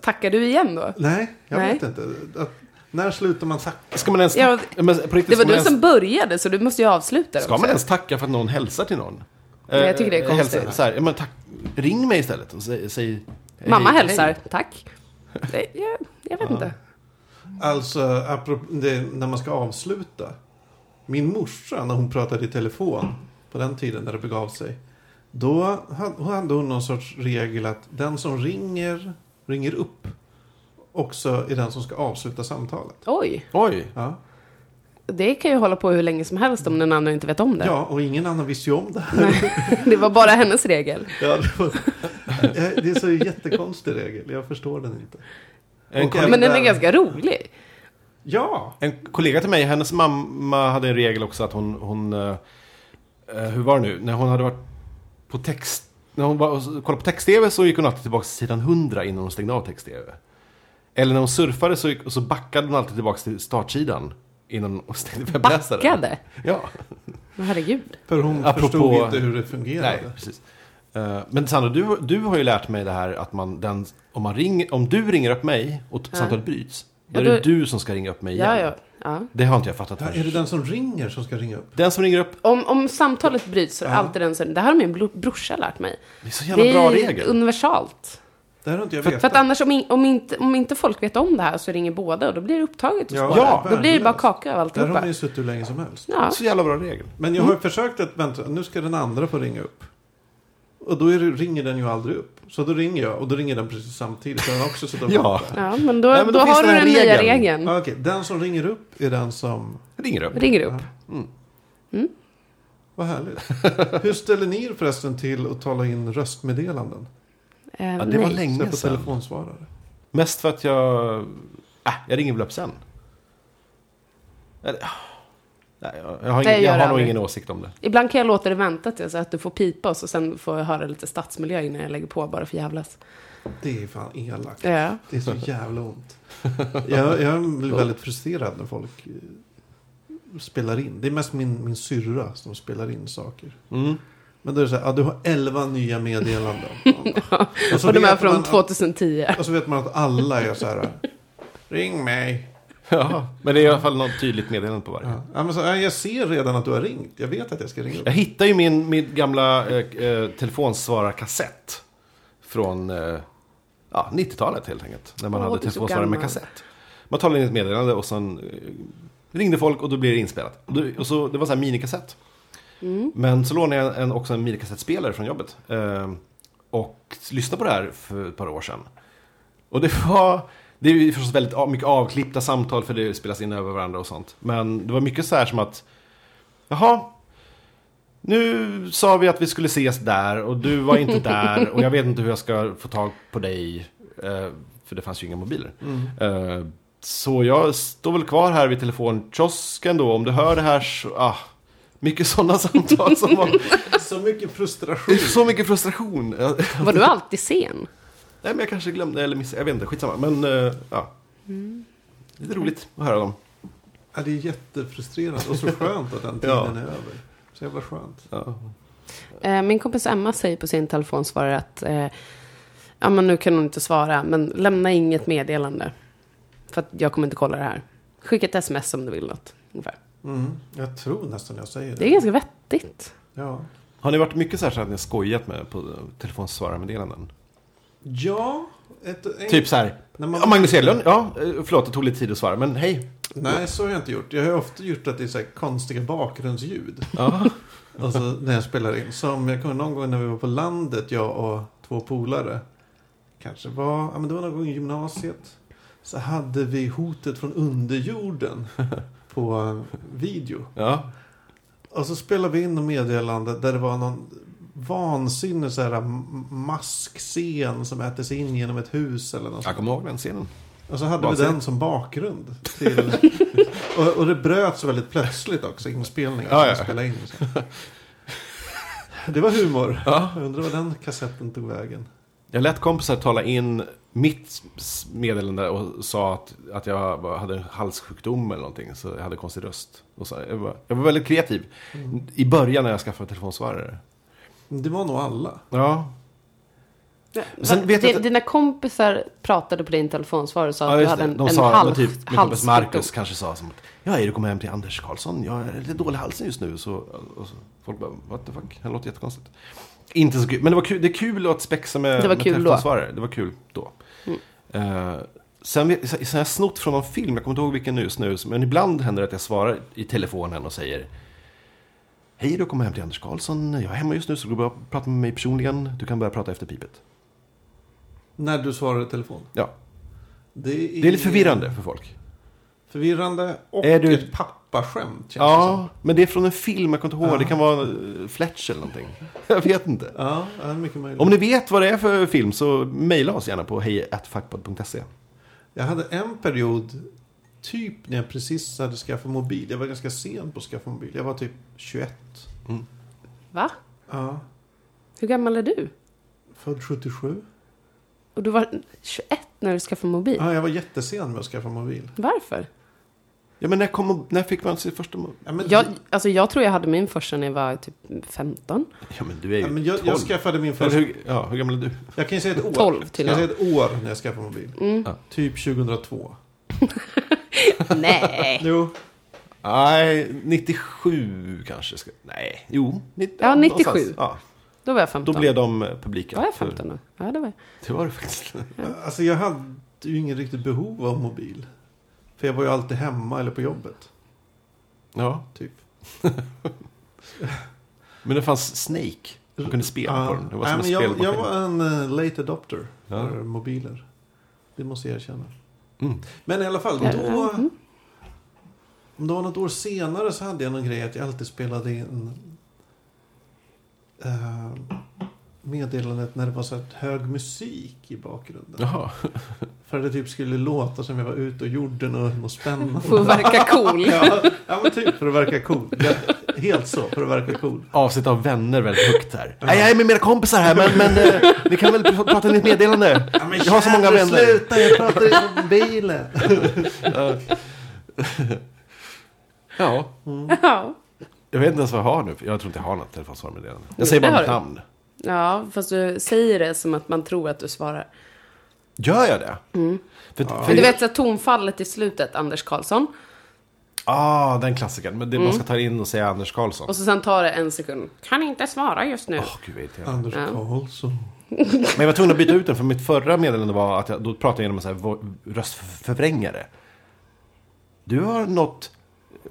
Tackar du igen då? Nej, jag Nej. vet inte. Att, när slutar man tacka? Ska man ens Ja, tacka? men, på riktigt, ska, Det var man du ens, som började, så du måste ju avsluta det ska man också. ens tacka för att någon hälsar till någon? Nej, jag tycker det är Eh, konstigt. Hälsa, så här, ja, men tack, ring mig istället och säg... säg hej, Mamma hej. hälsar, tack. Det- Jag, jag vet inte. Alltså, apropå, det, när man ska avsluta. Min morsa, när hon pratade i telefon på den tiden när det begav sig. Då hade- hade hon någon sorts regel att den som ringer, ringer upp. Också är den som ska avsluta samtalet. Oj, Oj. Ja, det kan ju hålla på hur länge som helst om den andra inte vet om det. ja och ingen annan visste ju om det här. Nej, det var bara hennes regel. Ja, det, var, Eh, det är så jättekonstig regel. Jag förstår den inte. En, Okej. Men den är ganska rolig. Ja! En kollega till mig, hennes mamma hade en regel också att hon, hon eh, eh, hur var det nu, när hon hade varit på text, när hon var, och kollade på text-tv så gick hon alltid tillbaka till sidan 100 innan hon stängde av text-tv. Eller när hon surfade så, gick, så backade hon alltid tillbaka till startsidan innan hon stängde webbläsaren. Backade? Ja, Men herregud. För hon Apropå- förstod inte hur det fungerade. nej, precis. Eh, Men Sandra, du, du har ju lärt mig det här att man, den, om, man ringer, om du ringer upp mig och t- samtalet bryts, då Ja, är det då- du som ska ringa upp mig igen. Ja, ja. ja. Det har inte jag fattat. Ja, först. är det den som ringer som ska ringa upp? Den som ringer upp Om, om samtalet bryts så är det alltid den som... Det här har min bro- brorsa lärt mig. Det är så jävla bra regel. universalt. Det här har inte jag För att vetat. annars om, in, om, inte, om inte folk vet om det här så ringer båda och då blir det upptaget hos Ja, båda. ja, då blir det bara värdelöst. kaka Där av har alltihopa. man ju suttit hur länge som helst. Ja. Så jävla bra regel. Men jag har Mm. ju försökt att vänta, nu ska den andra få ringa upp. Och då är det, ringer den ju aldrig upp. Så då ringer jag och då ringer den precis samtidigt. Så den har också suttit och Ja. väntat. ja, men då, Nej, men då, då finns har du den här den nya regeln. regeln. Ja, Okej, den som ringer upp är den som... Mm. Ringer upp. Mm. Ringer upp. Vad härligt. Hur ställer ni er förresten till att tala in röstmeddelanden? Eh, Ja, det var nej. Så länge på sedan. telefonsvarare. Mest för att jag... Äh, jag ringer väl upp sen. Eller, ah. Nej, jag, jag har, Nej, ingen, jag gör det har nog aldrig. ingen åsikt om det. Ibland kan jag låta det vänta till så att du får pipa och så sen får jag höra lite stadsmiljö innan jag lägger på bara för jävlas. Eh, Det är fan elakt. Ja. Det är så jävla ont. Jag, jag blir väldigt frustrerad när folk eh, spelar in. Det är mest min, min syrra som spelar in saker. Mm. Men då är det så här, ja, du har elva nya meddelanden. och, så Och de är vet från man, 2010. och så vet man att alla är så här, ring mig. Ja, men det är i alla fall något tydligt meddelande på varje. Ja. Ja, men så, ja, jag ser redan att du har ringt. Jag vet att jag ska ringa upp. Jag Mm. hittar ju min, min gamla eh, eh, telefonsvararkassett. Från eh, ja, 90-talet helt enkelt. När man Åh, hade du är så telefonsvarare med gammal. kassett. Man talade in ett meddelande och sen eh, ringde folk och då blev det inspelat. Och, då, och så, det var så här minikassett. Mm. Men så lånade jag en, också en minikassettspelare från jobbet. Eh, och lyssnade på det här för ett par år sedan. Och det var... Det är ju förstås väldigt av- mycket avklippta samtal för det spelas in över varandra och sånt. Men det var mycket så här som att... Jaha, nu sa vi att vi skulle ses där och du var inte där och jag vet inte hur jag ska få tag på dig. eh, För det fanns ju inga mobiler. Eh, Så jag står väl kvar här vid telefonkiosken då. Om du hör det här så... Ah, mycket sådana samtal som var... Så mycket Det frustration. är så mycket frustration. Jag- Var du alltid sen? Nej men jag kanske glömde eller missade. Jag vet inte, skitsamma. Men eh, ja. Lite roligt att höra dem. Ja, det är jättefrustrerande och så skönt att den tiden Ja. är över. Så jävla skönt. Ja. Eh, Min kompis Emma säger på sin telefonsvarare att eh, ja, men nu kan hon inte svara, men lämna inget meddelande. För att jag kommer inte kolla det här. Skicka ett sms om du vill något. Ungefär. Mm. Jag tror nästan jag säger det. Det är ganska vettigt. Ja. Har ni varit mycket så här så att ni har skojat med på telefonsvararmeddelanden? Ja. Ett, Typ så här. När man- Ja, Magnus Hedlund, ja, eh, förlåt det tog lite tid att svara, men hej. Nej, så har jag inte gjort. Jag har ofta gjort att det är så här konstiga bakgrundsljud. Ja. Alltså när jag spelar in. Som jag kommer någon gång när vi var på landet, jag och två polare. Kanske var, ja men det var någon gång i gymnasiet. Så hade vi hotet från underjorden på eh, video. ja. Och så spelade vi in något meddelande där det var någon vansinnig så här m- maskscen som äter sig in genom ett hus eller något. Jag kommer ihåg den scenen. Och så hade vi Vansinnigt. den som bakgrund. Till, och, och det bröts väldigt plötsligt också, inspelningen. Ja, som ja. spelade in. Så. Det var humor. Ja. Jag undrar var den kassetten tog vägen. Jag lät kompisar tala in mitt s- meddelande och sa att, att jag var- hade halssjukdom eller någonting. Så jag hade konstig röst. Och så, jag, var, jag var väldigt kreativ Mm. i början när jag skaffade telefonsvarare. Det var nog alla. Ja, Sen Va- vet jag Di- inte- Dina kompisar pratade på din telefonsvarare och sa att du just hade det. en, De en sa, hals, typ, min kompis halssjukdom. Marcus kanske sa som att jag är du kommer hem till Anders Karlsson. Jag är lite dålig i halsen just nu. Så, och så, folk bara, what the fuck? Det låter jättekonstigt. Inte så kul, men det var kul, det är kul att spexa med, Det var med kul då. Mm. telefonsvarare. Det var kul då. Eh, sen, vi- sen har jag snott från någon film, jag kommer inte ihåg vilken nu just nu. Men ibland händer det att jag svarar i telefonen och säger Hej, du kommer hem till Anders Karlsson. Jag är hemma just nu så det går bra att prata med mig personligen. Du kan börja prata efter pipet. När du svarade i telefon. Ja, Det det är lite förvirrande för folk. Förvirrande och Är du- ett pappaskämt. känns det som. Ja, men det är från en film, jag kommer inte ihåg. Ja. Det kan vara eh, Fletch eller någonting. Jag vet inte. ja, ja, det är mycket möjligt. Om ni vet vad det är för film så mejla oss gärna på hejatfuckpod.se. Jag hade en period, typ när jag precis hade skaffat mobil. Jag var ganska sen på att skaffa mobil. Jag var typ 21. Mm. Va? Ja, Hur gammal är du? född 77. Och du var 21 när du skaffade mobil. Ja, jag var jättesen med att skaffa mobil. Varför? Ja, men när, kom, när fick man sin första... mo- Ja, men, Jag, alltså jag tror jag hade min första när jag var typ 15. Ja, men du är ju ja, men jag, 12. jag skaffade min Eller första... hur, ja, hur gammal är du? Jag kan ju säga ett år. 12 till jag och Mm. kan säga ett år när jag skaffade mobil. Ja. Typ 2002. Nej. Jo, Nej, 97 kanske. Ska, nej, jo. nitt- Ja, 97. någonstans. Ja, Då var jag 15. då blev de eh, publika. Var jag för- 15 då? Ja, det var jag. Det var det faktiskt. alltså jag hade ju ingen riktigt behov av mobil. För jag var ju alltid hemma eller på jobbet. Ja, Typ. men det fanns Snake. Man kunde spela på den. Det var Ja, som en men jag, spelmaskin. jag var en eh, late adopter Ja. för mobiler. Det måste jag erkänna. Mm. Men i alla fall, Ja, då... ja, mm. Om det var något år senare så hade jag någon grej att jag alltid spelade in eh, meddelandet när det var så här hög musik i bakgrunden. Jaha. För att det typ skulle låta som jag var ute och gjorde något, något spännande. För att verka cool. ja, ja, men typ för att verka cool. Ja, Helt så, för att verka cool. avsnitt av vänner väldigt högt här. Nej, jag är med mina kompisar här, men, men eh, ni kan väl pr- prata i ett meddelande? jag har så många Jävlar, vänner. Sluta, jag pratar i mobilen. Ja, Ja. jag vet inte ens vad jag har nu. för Jag tror inte jag har något telefonsvararmeddelande. Jag säger bara Det mitt har namn. ja, fast du säger det som att man tror att du svarar. Gör jag det? För, för, Mm. Men du vet så här, tonfallet i slutet, Anders Karlsson. Ah, den klassikern. Men det man ska ta in och säga Anders Karlsson. Mm. Och så sen tar det en sekund. Kan inte svara just nu. Åh, gud vad irriterande. Anders Karlsson. Men jag var tvungen att byta ut den, för mitt förra meddelande var att jag, då pratade jag genom en sån här vo- röstförvrängare. Du har något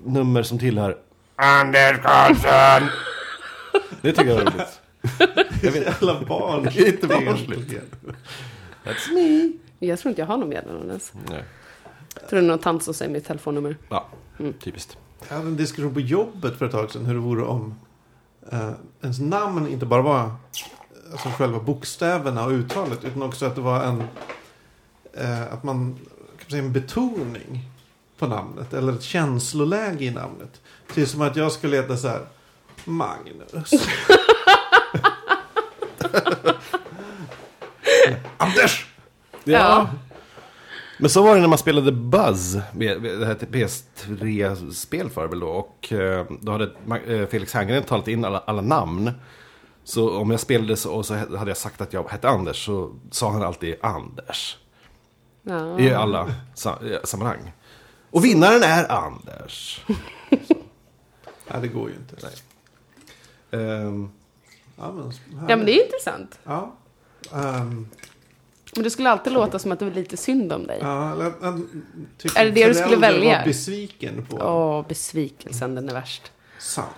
nummer som tillhör Anders Karlsson. Det tycker jag är roligt. Jävla barn. Det är inte barnsligt. That's me. Jag tror inte jag har någon meddelande ens. Nej. Tror du någon tant som säger mitt telefonnummer? Ja, typiskt. Jag hade en diskussion på jobbet för ett tag sedan hur det vore om eh, ens namn inte bara var alltså, själva bokstäverna och uttalet utan också att det var en eh, att man kan man säga, en betoning på namnet eller ett känsloläge i namnet. Typ som att jag skulle heta så här Magnus. Anders! Ja. Men så var det när man spelade Buzz, med- med det här PS3-spel för väl då. Och eh, då hade Ma- eh, Felix Herngren talat in alla, alla namn. Så om jag spelade så, och så he- hade jag sagt att jag hette Anders så sa han alltid Anders. ja. I alla sa- eh, sammanhang. Och vinnaren är Anders. Nej, det går ju inte. Ehm, Ja, men, Ja men det är intressant. Ja. Ehm, Men det skulle alltid låta som att det var lite synd om dig. ja, eller, en- typ Är det det du skulle förälder välja? var besviken på Åh, besvikelsen, den är värst. Sandra.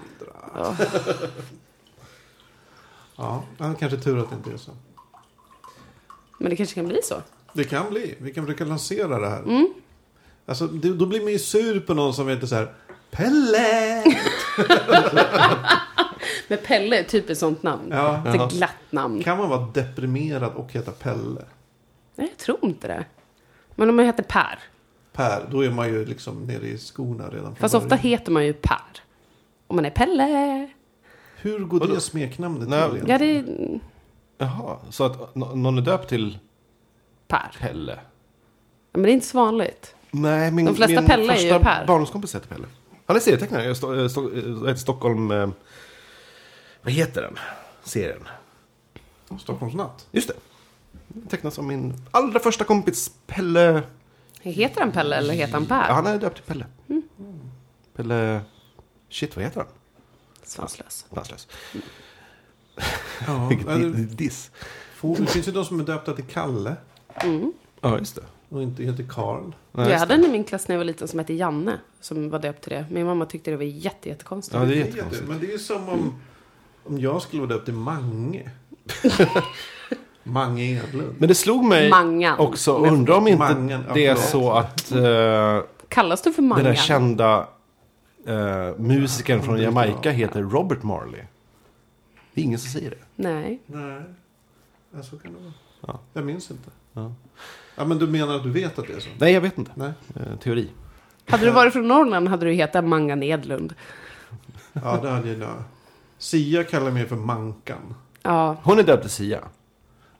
Åh. Ja, han kanske tur att det inte är så. Men det kanske kan bli så. Det kan bli. Vi kan försöka lansera det här. Alltså, det, då blir man ju sur på någon som inte så här Pelle! Men Pelle är typ ett sånt namn. Ja, Ett glatt namn. Kan man vara deprimerad och heta Pelle? Nej, jag tror inte det. Men om man heter Per. Per, då är man ju liksom nere i skorna redan från Fast ofta början. heter man ju Per. Om man är Pelle. Hur går Vadå? det smeknamnet Nej. till Ja, egentligen? det är Jaha, så att nå- någon är döpt till Per. Pelle? Men det är inte så vanligt. Nej, min, De flesta min Pelle är ju första Per. barndomskompis heter Pelle. Han är serietecknare. Jag sto- eh, sto- eh, vad heter Stockholm... eh, Vad heter den? Serien. Stockholmsnatt. Just det. Tecknas av min allra första kompis Pelle. Heter han Pelle eller heter han Ja, Per? han är döpt till Pelle. Pelle... Shit, vad heter han? Svanslös. Vanslös. Ja, Vilket di- eller, diss. få, det finns ju de som är döpta till Kalle Ja, just det. och inte heter Karl. Ja, jag just hade en i min klass när jag var liten som hette Janne. Som var döpt till det. Min mamma tyckte det var jätte, jättekonstigt. Ja, det är vet jättekonstigt. du, Men det är ju som om, om jag skulle vara döpt till Mange. Mange Edlund. Men det slog mig Mangan. också, undrar om inte Mangan, ja, det är förlåt. så att eh, Kallas du för den där Mangan? kända eh, musikern från Jamaica heter Robert Marley. Det är ingen som säger det. Nej. Nej, ja, så kan det vara. Ja. Jag minns inte. Ja. Ja, men du menar att du vet att det är så? Nej, jag vet inte. Nej. Eh, teori. Hade du varit från Norrland hade du hetat Mangan Edlund. Ja, det hade jag. Sia kallar mig för Mankan. Ja, Hon är döpt till Sia.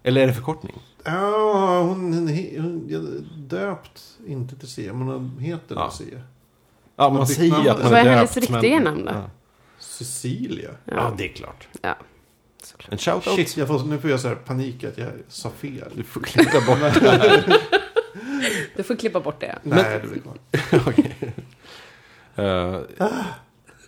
Eller är det förkortning? Ja, hon, hon, hon är döpt inte till Sia, men hon heter Ja. ja. Sia. Ja, man Vad fick säger namnet? att man Vad är är döpt. hennes riktiga men- namn då? Ja. Cecilia. ja, det är klart. Ja, En shout-out. Shit, jag får, nu får jag så här panik att jag sa fel. Du får klippa bort det här. du får klippa bort det. Nej, det blir klart. Okej. Eh, eh,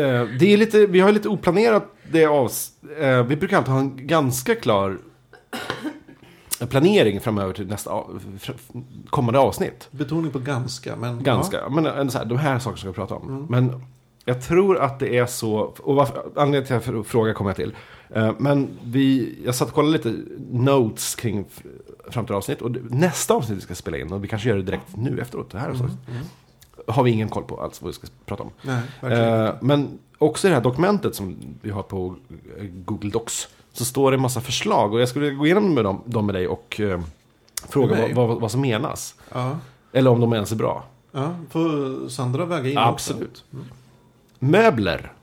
eh, det är lite, vi har ju lite oplanerat det avs... eh, vi brukar alltid ha en ganska klar planering framöver till nästa av, fr- kommande avsnitt. Betoning på ganska, men... Ganska, men eh, så här, de här sakerna ska vi prata om. Mm. Men jag tror att det är så, och varför, anledningen till att jag frågar kommer jag till. Eh, Men vi, jag satt och kollade lite notes kring f- framtida avsnitt. Och det- nästa avsnitt vi ska spela in, och vi kanske gör det direkt nu efteråt, det här Mm, avsnittet, har vi ingen koll på alls vad vi ska prata om. Ja. Nej, verkligen. Eh, Men också i det här dokumentet som vi har på eh, Google Docs så står det en massa förslag och jag skulle gå igenom med dem, dem med dig och eh, fråga Med mig? vad, vad, vad som menas. Ja. Eller om de ens är bra. ja. Får Sandra väga in Absolut. Möbler. också?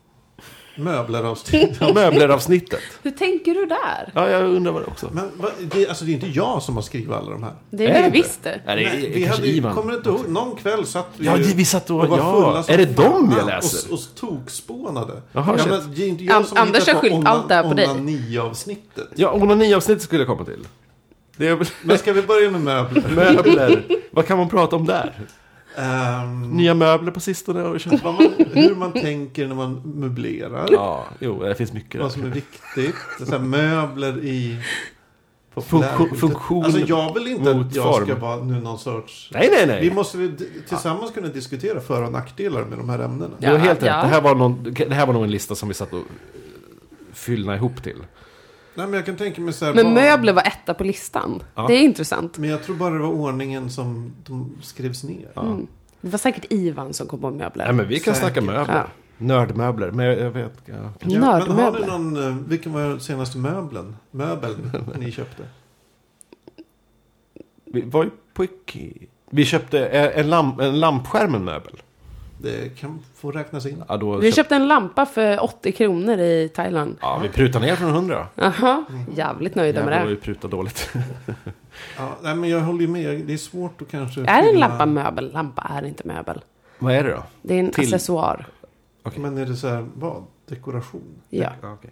Möbleravsnitt. Möbleravsnittet. Hur tänker du där? Ja, jag undrar vad det också. Men vad- det, alltså, det är inte jag som har skrivit alla de här. Det Är är det det visst det. Nej, det är Nej, kanske hade, Ivan. Kommer du inte ihåg? Någon kväll satt vi Ja, ju det- vi satt och- var ja. fulla som Är det fan dem jag Och, läser? och tokspånade. Jaha, ja, shit. men, det är inte jag An- som Anders hittar har skyllt onan- allt det här på dig. onani-avsnittet. Ja, onani-avsnittet skulle jag komma till. Det är väl Men ska vi börja med möbler? möbler. vad kan man prata om där? Ehm, Nya möbler på sistone har vi köpt. vad man, hur man tänker när man möblerar. Ja, jo, det finns mycket Vad som är där. viktigt. Det är så här, möbler i... på Funktion- flärdet. funktion Alltså jag vill inte mot att jag ska form. vara nu någon sorts... Nej, nej, Vi nej. måste ju d- tillsammans kunna diskutera för och nackdelar med de här ämnena. Du har helt rätt. Ja, ja. Det, här var någon, det här var nog en lista som vi satt och eh, fyllna ihop till. Nej men jag kan tänka mig så här... Men vad- möbler var etta på listan. Ja. Det är intressant. Men jag tror bara det var ordningen som de skrevs ner. Det var säkert Ivan som kom på möbler. Nej, men vi kan Säkert. snacka möbler. Ja. Nördmöbler. Men jag, jag vet... Ja. Ja, men har ni Nördmöbler. någon, eh, vilken var den senaste möbeln? Möbeln ni köpte? Vi var ju på Ikea. Vi köpte eh, en, lamp, en lampskärm, en möbel. Det kan få räknas in. Ja, då Vi köpte- köpte en lampa för 80 kronor i Thailand. Ja, vi prutade ner från 100. Aha, Mm. jävligt nöjda med Jävlar vad det. vi prutade dåligt. Ja, nej, men jag håller ju med. Det är svårt att kanske... Är en skilja- lampa möbel? Lampa är inte möbel. Vad är det då? Det är en Till- accessoar. Men är det så här, vad? Dekoration? Ja. okej.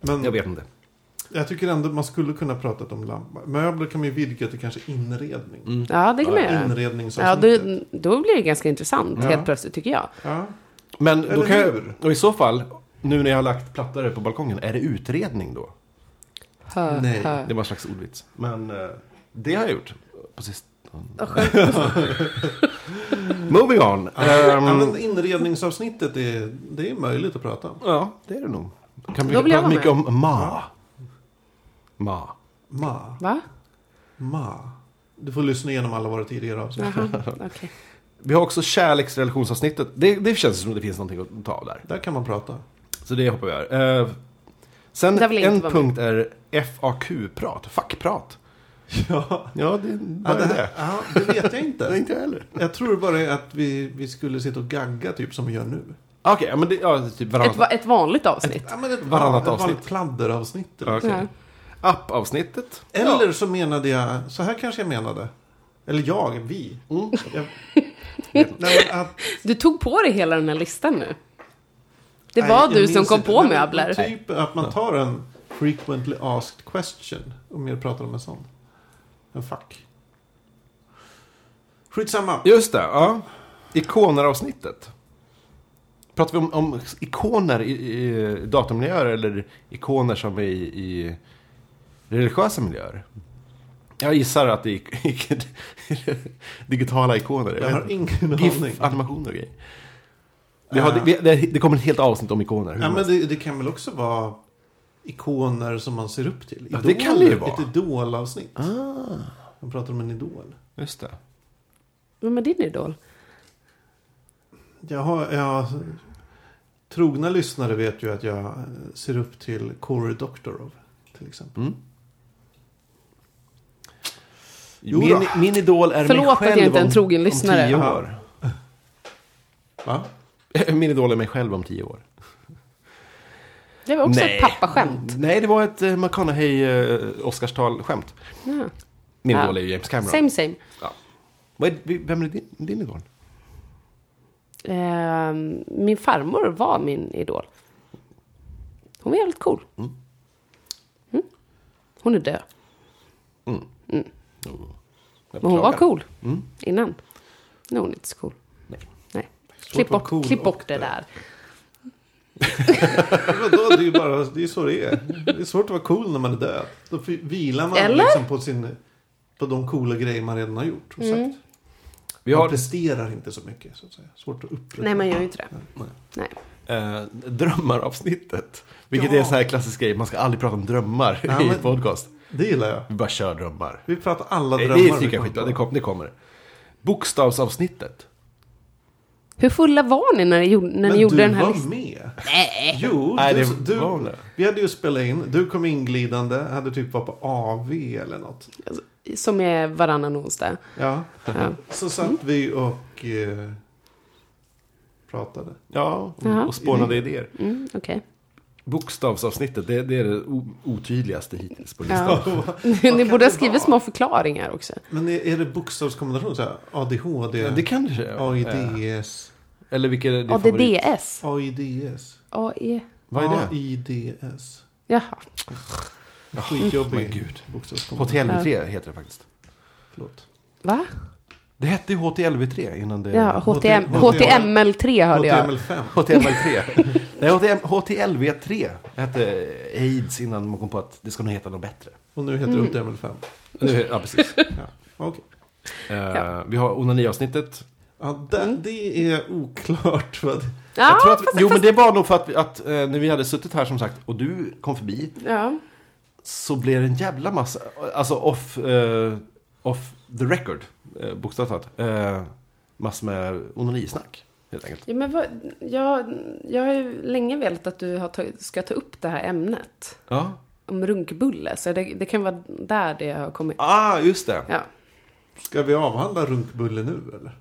Men Jag jag, vet inte. tycker ändå man skulle kunna prata om lampa. Möbler kan man ju vidga till kanske inredning. Mm. ja, det kan man göra. Ja, Inredningsavsnittet. då, då blir det ganska intressant Ja. Mm. helt plötsligt tycker jag. Ja. Men då Eller kan jag, hur? och i så fall, nu när jag har lagt plattare på balkongen, är det utredning då? Hö, Nej. hö. Det var en slags ordvits. Men eh, det har jag gjort. På sist... Och skönt. Moving on. Ehm, Ja, men inredningsavsnittet är, det är möjligt att prata om. ja, det är det nog. Kan vi Då vill jag prata vara mycket om ma. Ma. Ma, Va? ma. Du får lyssna igenom alla våra tidigare avsnitt. Jaha, okej. Vi har också kärleksrelationsavsnittet. Det, det känns som att det finns någonting att ta av där. Där kan man prata. Så det hoppar vi över. Eh, sen Där vill jag en inte vara punkt är FAQ-prat. Fackprat. Ja, Ja, det, ja, vad det, är här, det? ja, det vet jag Det är inte. inte jag heller. Jag tror bara det är att vi, vi skulle sitta och gagga typ som vi gör nu. Okej, ja, men det, ja, typ Ett, varannat. va- ett vanligt avsnitt. Ja, men ett, Varannat ja, ett vanligt avsnitt. pladderavsnitt. eller Ja, okej. Ja. App-avsnittet. Eller så menade jag, så här kanske jag menade. Eller jag, vi. Mm. Jag, nej, men att, Du tog på dig hela den här listan nu. Det var nej, du jag som minns kom inte. på Nej, men möbler. Typ att man tar en frequently asked question. Om jag pratar om en sån. En fuck. Skitsamma. Just det, ja. Ikoner-avsnittet. Pratar vi om, om ikoner i, i datamiljöer eller ikoner som är i, i religiösa miljöer? Jag gissar att det är ik- digitala ikoner. Jag har ingen aning. Ah. GIF-animationer och grejer. Vi har, vi, det, det kommer ett helt avsnitt om ikoner. hur Ja, man- men det, det kan väl också vara ikoner som man ser upp till. Ja, det kan det ju vara. Ett idolavsnitt. ah, Man pratar om en idol. just det. Vem är din idol? Jag har, jag, trogna lyssnare vet ju att jag eh, ser upp till Cory Doctorow. Till exempel. Mm. Jo då. min, min idol är Förlåt mig att jag själv inte är en om- trogen om lyssnare. tio år. Va? Min idol är mig själv om tio år. Det var också Nej. ett pappaskämt. Nej, det var ett eh, McConaughey eh, Oscarstal-skämt. Ja. Min Ja. idol är ju James Cameron. Same same. Ja. Vad är, vi- vem är din, din idol? Ehm, min farmor var min idol. Hon var jävligt cool. Mm. Hon är död. Jag Men hon var beklagar. cool Mm. innan. Nu är hon inte så cool. Nej. Nej. Svårt Klipp att vara bort, cool klipp och eh, bort det död. där. Vadå, det är ju bara, det är så det är. Det är svårt att vara cool när man är död. Då fi- vilar man Eller? liksom på, sin, på de coola grejer man redan har gjort. Och sagt. Mm. Vi Man har presterar inte så mycket. Så att säga. Svårt att upprätthålla. Nej, man gör ju inte det. Nej. Nej. eh, drömmaravsnittet. Vilket Ja. är en sån här klassisk grej. Man ska aldrig prata om drömmar Ja, i men- podcast. Det gillar jag. Vi bara kör drömmar. Vi pratar alla Nej, drömmar. det vi tycker jag kommer skit på. det, kom, det kommer. Bokstavsavsnittet. Hur fulla var ni när ni gjorde, när Men ni gjorde du den här var listan? med. Nej. Jo, Nej, du, det du, var det. vi hade ju spelat in. Du kom inglidande. Hade typ varit på AV eller något. Som är varannan onsdag. Ja. Ja. Så satt vi och eh, pratade. Ja, Jaha. och spånade idéer. Mm, Okej. Bokstavsavsnittet, det, det är det o- otydligaste hittills på listan. Ja. ni kan borde ha det skrivit vara? små förklaringar också. Men är, är det bokstavskombination? Så här, ADHD? Ja, Det kanske är. Eh, AIDS. Eller vilket är din favorit? ADDS. AIDS. AE. Vad är det? AIDS. E. Jaha. Skitjobbig. Men gud. Bokstavskombination. HTLV3 heter det faktiskt. Förlåt. Va? Det hette ju HTLV3 innan det... Ja, HTM, HTML. HTML3 hörde jag. HTML5. HTML3. Nej, HTM, HTLV3 hette AIDS innan man kom på att det ska nog heta något bättre. Och nu heter det HTML5. Nu- Ja, precis. Ja, okej. Eh, Vi har onaniavsnittet. Ja, det, det är oklart. Vad det, Ja, Jag tror att, fast- jo, men det var nog för att, vi- att eh, när vi hade suttit här som sagt och du kom förbi ja. så blev det en jävla massa, alltså off, eh, off the record, eh, bokstavligt talat, eh, massor med onanisnack helt enkelt. Ja, men vad, jag, jag har ju länge velat att du har tagit- ska ta upp det här ämnet. Ja. Om runkbulle. Så det, det kan vara där det har kommit. Ah, just det. Ja. ska vi avhandla runkbulle nu eller?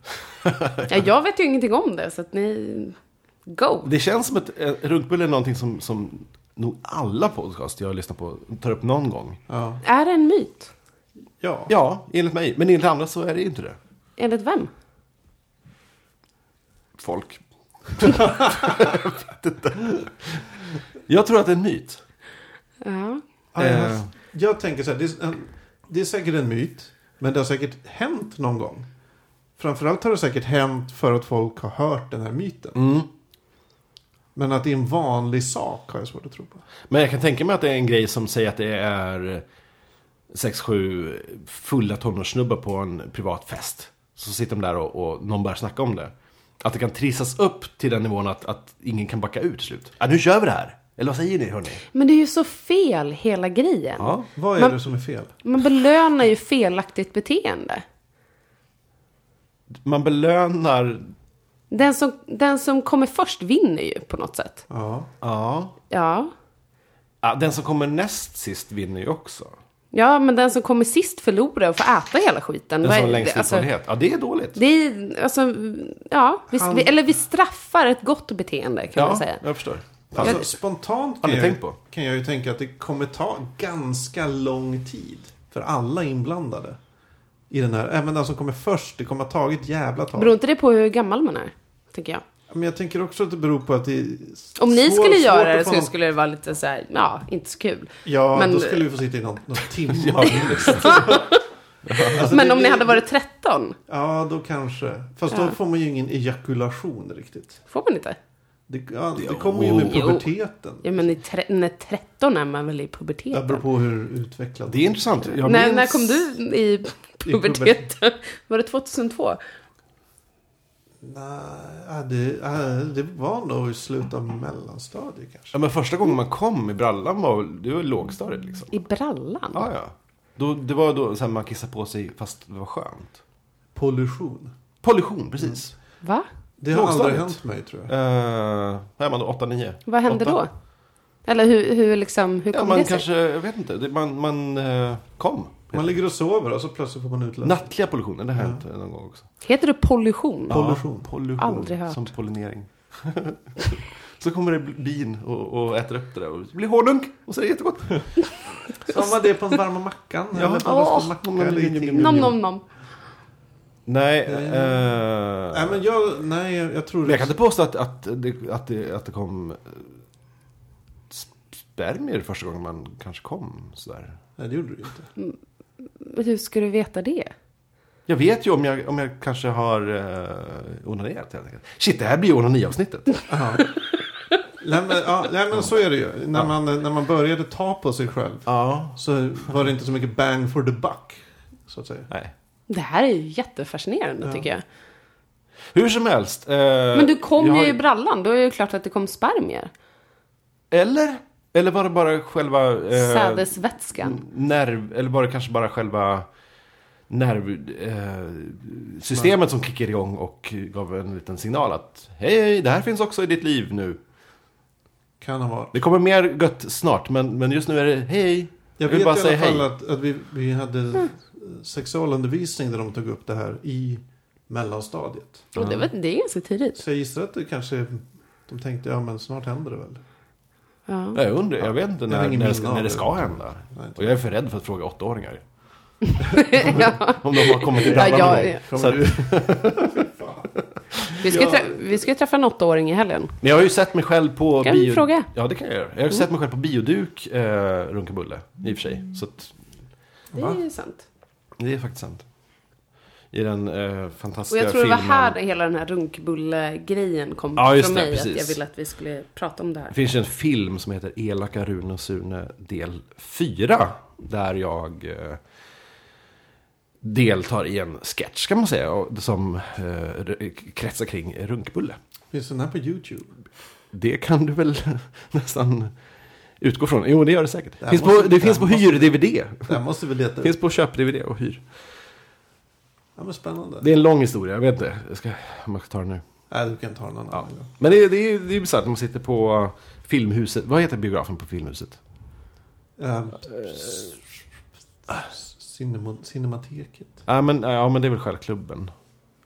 Ja, jag vet ju ingenting om det, så att ni... Go! Det känns som att eh, runkbulle är någonting som, som nog alla podcast jag lyssnar på tar upp någon gång. Ja. Är det en myt? Ja. Ja, enligt mig. Men enligt andra så är det ju inte det. Enligt vem? Folk. jag, vet inte. jag tror att det är en myt. Ja. Ja, jag- Eh. Jag tänker så här, det är, en, det är säkert en myt. Men det har säkert hänt Mm. någon gång. Framförallt har det säkert hänt för att folk har hört den här myten. Men att det är en vanlig sak har jag svårt att tro på. Men jag kan tänka mig att det är en grej som säger att det är 6-7 fulla tonårssnubbar på en privat fest. Så sitter de där och, och någon börjar snacka om det. Att det kan trissas upp till den nivån att, att ingen kan backa ut till slut. Ja, nu kör vi det här! Eller vad säger ni hörni? Men det är ju så fel, hela grejen. Ja. Vad är Men- det som är fel? Man belönar ju felaktigt beteende. Man belönar... Den som, den som kommer först vinner ju på något sätt. Ja. Ja. Ja. ja. Den som kommer näst sist vinner ju också. Ja, men den som kommer sist förlorar och får äta hela skiten. Den som Vad är har det? längst Alltså, erfarenhet. Ja, det är dåligt. Det är, alltså, ja, vi, Han- vi, eller vi straffar ett gott beteende kan man Ja, säga. jag förstår. Alltså, spontant Har kan ni jag, tänkt på? kan jag ju tänka att det kommer ta ganska lång tid för alla inblandade. I den här, även den som kommer först, det kommer ha tagit jävla tag. Beror inte det på hur gammal man är? Tänker jag. Men jag tänker också att det beror på att det är Om ni svår- skulle svårt göra att det få så någon- skulle det vara lite så här, ja, inte så kul. Ja, Men- då skulle vi få sitta i någon, någon timme. Ja, visst. Alltså, men det om ni blir- hade varit 13, Ja, då kanske. Fast Ja. då får man ju ingen ejakulation riktigt. får man inte? Det, ja, det kommer ju med Jo. puberteten. Ja, men i tre, när 13 är man väl i Det beror puberteten? på hur utvecklad Det är intressant. Jag när, minns- när kom du i puberteten? Var det 2002? Nej, ja, det, ja, det var nog i slutet av mellanstadiet kanske. Ja, men första gången man kom i brallan var väl- det var ju lågstadiet liksom. I brallan? Ja, ja. Då, det var då så här, man kissade på sig fast det var skönt. Pollution. Pollution, precis. Va? Det har aldrig Lågstadiet. hänt mig tror jag. Eh, Vad är man då? 8-9? Vad hände då? Eller hur, hur, liksom, hur Ja, kom man det sig? kanske, jag vet inte. Det- Man, man eh, kom. Man ligger och sover och så plötsligt får man utlösning. Nattliga pollutionen, det har hänt någon gång också. Heter det pollution? Pollution. Ja, pollution. Aldrig hört. Som pollinering. så kommer det bin och, och äter upp det där och det blir hårdunk och så är det jättegott. Som var det på den varma mackan. Ja. Eller på en Åh. rostad macka. Eller i te. Nom, nom, nom. Nej, Mm. eh, Nej, men jag, nej, jag jag tror Men jag kan inte påstå att, att, det, att, det, att det kom eh, sp- spermier första gången man kanske kom sådär. Nej, det gjorde du ju inte. Men Hur ska du veta det? Jag vet ju om jag, om jag kanske har eh, onanerat helt enkelt. Shit, det här blir ju onaniavsnittet. Ja. nej, men, ja, nej, men så är det ju. När man, när man började ta på sig själv ja. så var det inte så mycket bang for the buck. Så att säga. Nej. Det här är ju jättefascinerande tycker jag. Hur som helst. eh, Men du kom jag ju har- i brallan, då är det ju klart att det kom spermier. Eller? Eller var det bara själva... eh, Sädesvätskan. Nerv, eller var det kanske bara själva nervsystemet eh, systemet som kickade igång och gav en liten signal att hej, hej, det här finns också i ditt liv nu. Kan ha varit. Det kommer mer gött snart, men, men just nu är det hej. Jag Jag vill vet bara i säga alla fall hej. att, att vi, vi hade eh, sexualundervisning där de tog upp det här i mellanstadiet. Och det, var, det är ganska tidigt. Så jag gissar att det kanske, de tänkte ja men snart händer det väl. Ja. Jag undrar, jag vet inte Jag har när, ingen när, minne det ska, av när det det. ska hända. Nej, inte. Och jag är för rädd för att fråga åttaåringar. ja. Om de har kommit till Ja, brallan jag- någon gång. Kommer Så att- du- Vi ska ju trä- vi ska ju träffa en åttaåring i helgen. Men jag har ju sett mig själv på... Kan du fråga? Ja, det kan jag göra. Jag har ju sett mig själv på bioduk, eh, runkabulle, i och för sig. Så att, Det är ju sant. det är faktiskt sant. I den eh, Och fantastiska jag tror det var filmen. här hela den här runkbulle-grejen kom Ja, just från det, mig. Att precis. jag ville att vi skulle prata om det här. Det finns ju en film som heter Elaka Rune och Sune del 4. Där jag eh, deltar i en sketch kan man säga. och- Som eh, r- kretsar kring Runkbulle. Finns den här på YouTube? Det kan du väl nästan utgå från. Jo, det gör det säkert. Det här finns på, måste- det det finns här på hyr-DVD. Det här måste vi leta upp. finns på köp-DVD och hyr. Ja men spännande. Det är en lång historia, jag vet inte jag ska, om jag ska ta den nu. Nej du kan ta någon annan gång. Men det, är- det är ju bisarrt när man sitter på Filmhuset. Vad heter biografen på Filmhuset? Ehm, Eh. s- s- cinema- Cinemateket. Ja men, ja, men det är väl Självklubben.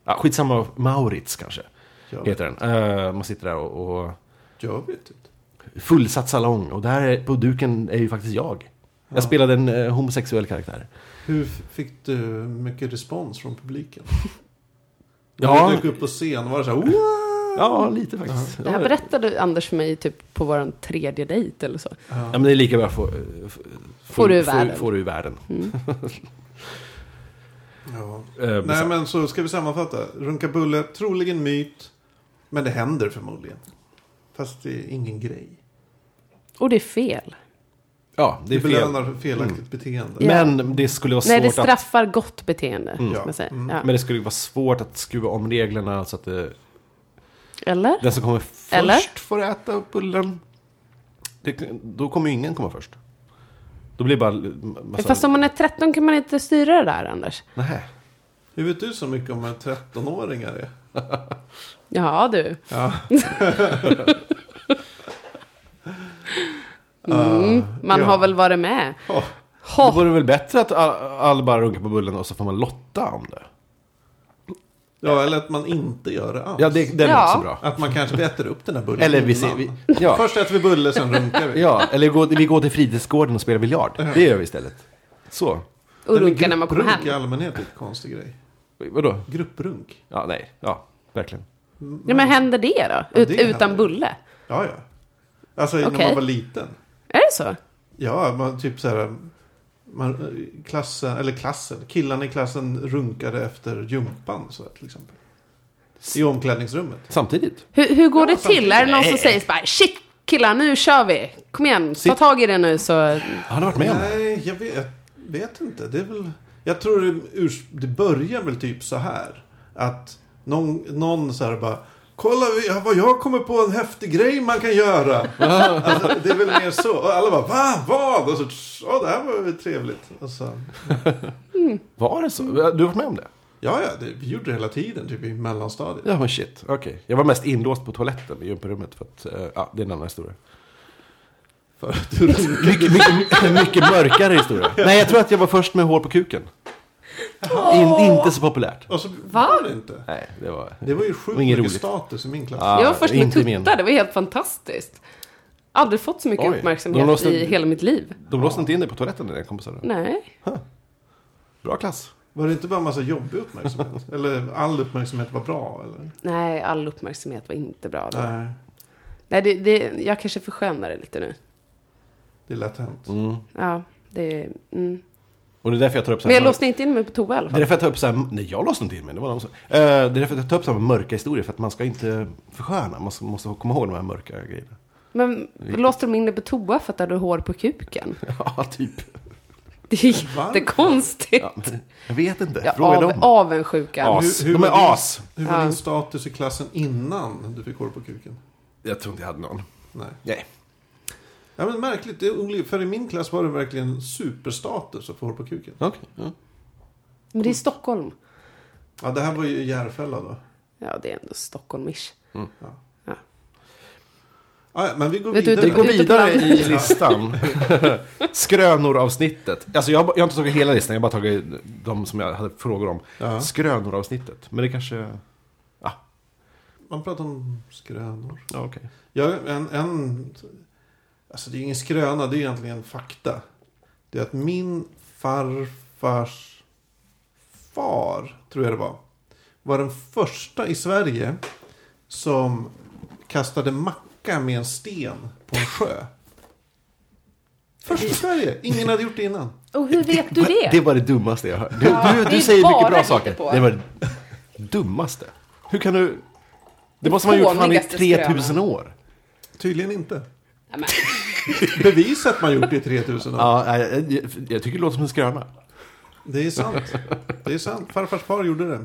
Ja, skitsamma, Maurits kanske Jag vet, heter den. Eh, man sitter där och, och jag vet inte. fullsatt salong. Och där är, på duken är ju faktiskt jag. Jag Ja. spelade en eh, homosexuell karaktär. Hur f- fick du mycket respons från publiken? När Ja, du dök upp på scen var det så här "Wow!" ja lite faktiskt. Det här Ja, berättade Anders för mig typ på vår tredje dejt eller så. ja, men det är lika bra att få, eh, f- Får du i får- världen. Får du i världen. Ja. Eh, Nej bisarrt. men så ska vi sammanfatta. Runkabulle, troligen myt. Men det händer förmodligen. Fast det är ingen grej. Och det är fel. Ja, det Det är fel. Mm. belönar felaktigt beteende. Ja. Men det skulle vara Nej, det svårt att... straffar gott beteende. Ska Ja. man säga. Mm. Ja. Men det skulle vara svårt att skruva om reglerna så att eh, det, Eller? den som kommer först Eller? får äta bullen. Det, då kommer ju ingen komma först. Då blir det bara m- massa... Fast om man är 13 kan man inte styra det där, Anders. Nej. Hur vet du så mycket om vad 13-åringar är? Ja, du. Ja. Mm. Man Ah, ja. har väl varit med. Ja. Då Ha. vore det väl bättre att all- alla bara runkar på bullen och så får man lotta om det. ja, eller att man inte gör det alls. Ja, det, det är Ja. också bra. Att man kanske äter upp den här bullen Eller vi ser... innan. Vi, ja, Först äter vi bulle, sen runkar vi. ja, eller gå, vi går till fritidsgården och spelar biljard. Det gör vi istället. Så. Och Nej, men runka när man kommer grupprunk i hem. allmänhet är en konstig grej. Vadå? Grupprunk. Ja, nej. Ja, verkligen. Ja, men händer det då? Ja, Ut, det utan händer. bulle? Ja, ja. Alltså när Okej. man var liten. Är det så? Ja, man typ så här. Man, klassen, eller klassen, killarna i klassen runkade efter gympan så här, till exempel. I omklädningsrummet. Samtidigt. Hur, hur går Ja, det till? Är det någon som Nej. säger så bara shit killar nu kör vi. Kom igen, ta Sitt- tag i det nu så. Han har varit med om det. Nej, jag vet, jag vet inte. Det är väl... Jag tror det, urs- det börjar väl typ så här. Att någon, någon så här bara. Kolla vi- vad jag kommer på en häftig grej man kan göra. alltså, det är väl mer så. Och alla bara va? Vad? Och så ja det här var ju trevligt. Och så, Var det så? Du har varit med om det? ja, ja, det, vi gjorde det hela tiden typ i mellanstadiet. Ja, men shit. Okej. Jag var mest inlåst på toaletten i gymparummet för att, eh, ja, det är en annan historia. För att du runkade. Mycket, mycket, mycket mörkare historia. Nej, jag tror att jag var först med hår på kuken. In, inte så populärt. Och så Va? Alltså, var det inte. Nej, det var... Det var ju Det sjukt var inget mycket roligt. status i min klass. Ja, jag var först med inte min. tuttar, det var helt fantastiskt. Aldrig fått så mycket Oj, uppmärksamhet de låste- i hela mitt liv. De låste inte in dig på toaletten, dina kompisar. Nej. Bra klass. Var det inte bara en massa jobbig uppmärksamhet? eller all uppmärksamhet var bra? Eller? Nej, all uppmärksamhet var inte bra då. Nej, Nej, det, det, jag kanske förskönar det lite nu. det är lätt hänt. Mm. Ja, det, mm. Och det är därför jag tar upp så Men här... jag låste inte in mig på toa i alla Det är fall. därför jag tar upp så här... Nej, jag låste inte in mig. Det var någon som... Eh, det är därför jag tar upp så här mörka historier. För att man ska inte försköna. Man måste komma ihåg de här mörka grejerna. Men låste de in dig på toa för att du hade hår på kuken? Ja, typ. Det är jättekonstigt. Ja, men jag vet inte. Ja, Fråga av, dem. avundsjuka. As. De är var din- as. Hur var Ja. din status i klassen innan du fick hår på kuken? Jag tror inte jag hade någon. Nej. Nej. Ja, men märkligt. Det är olika. För i min klass var det verkligen superstatus att få hår på kuken. Okej. ja. Men det är Stockholm. Ja, det här var ju Järfälla då. Ja, det är ändå Stockholmish. Ja, ja, men vi går Vet du, vidare. Vi går Ut- vidare utomlands. i listan. Skrönor avsnittet. Alltså jag, har- jag har inte tagit hela listan, jag har bara tagit de som jag hade frågor om. Ja. Skrönor avsnittet. Men det kanske... Man pratar om skrönor. Ja, okej. Ja, en, en, alltså det är ju ingen skröna, det är egentligen fakta. Det är att min farfars far, tror jag det var, var den första i Sverige som kastade macka med en sten på en sjö. Först i Sverige, ingen hade gjort det innan. Och hur vet du det? Det var det dummaste jag hört. Du, du, det du är säger bara mycket bra hittepå. saker. Det var det dummaste. Hur kan du... Det måste man ha gjort fan i Fånigaste 3000 skrönan. år. Tydligen inte. Nej, men, Bevisa att man gjort det i 3000 år. Ja, nej, jag, jag, jag tycker det låter som en skröna. Det är sant. Det är sant. Farfars far gjorde det.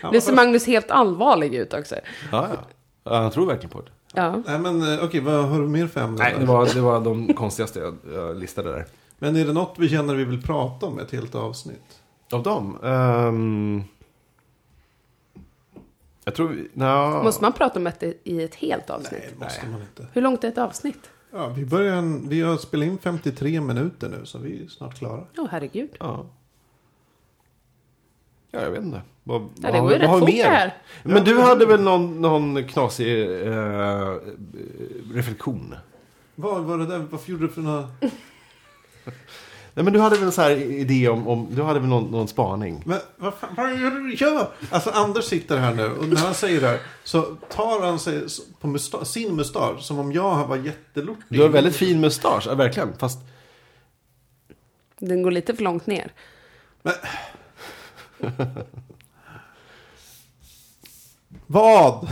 Han var nu ser Magnus helt allvarlig ut också. Ja, ja. ja. Jag tror verkligen på det. Ja. Nej men eh, okej, vad har du mer för ämnen? Nej, det var, det var de konstigaste jag, jag listade där. Men är det något vi känner vi vill prata om i ett helt avsnitt? Av dem? Ehm, jag tror vi... nja. Måste man prata om det i ett helt avsnitt? Nej, det måste Nej. man inte. Hur långt är ett avsnitt? Ja, vi, börjar en, vi har spelat in 53 minuter nu, så vi är snart klara. Åh, herregud. Ja. ja, jag vet inte. Vad, Ja, vad det har går vi- ju vad har vi rätt fort det mer? här. Men du hade väl någon, någon knasig eh, reflektion? Vad var det där? Varför gjorde du för några... Nej, men du hade väl en sån här idé om... om du hade väl någon, någon spaning? Men vad fan, vad gör du? Ja! Alltså Anders sitter här nu och när han säger det här så tar han sig s- på musta- sin mustasch som om jag var jättelortig. Du har en väldigt fin mustasch, ja, verkligen. Fast Den går lite för långt ner. Eh. Vad?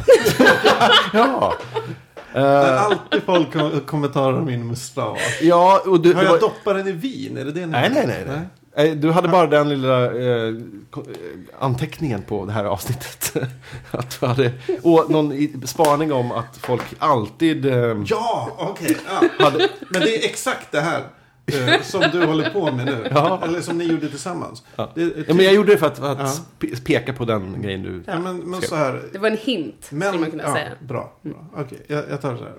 Ja. Det Eh, är alltid folk kom- kommentarer om min mustasch. ja, och du... Har det jag var- doppat den i vin? Är det det ni Nej, nej, nej. nej. Eh, Du hade bara den lilla eh, ko- eh, anteckningen på det här avsnittet. Att du hade och någon i- spaning om att folk alltid eh, Ja, okej. ja. hade... Men det är exakt det här eh, som du håller på med nu. Ja. Eller som ni gjorde tillsammans. Ja. Det, är Ja, men jag gjorde det för att, för att Ja. sp- peka på den grejen du... ja, men, men så här. Det var en hint, skulle man kunna ja, säga. Mm. Bra. bra. Okej, jag, jag tar det så här.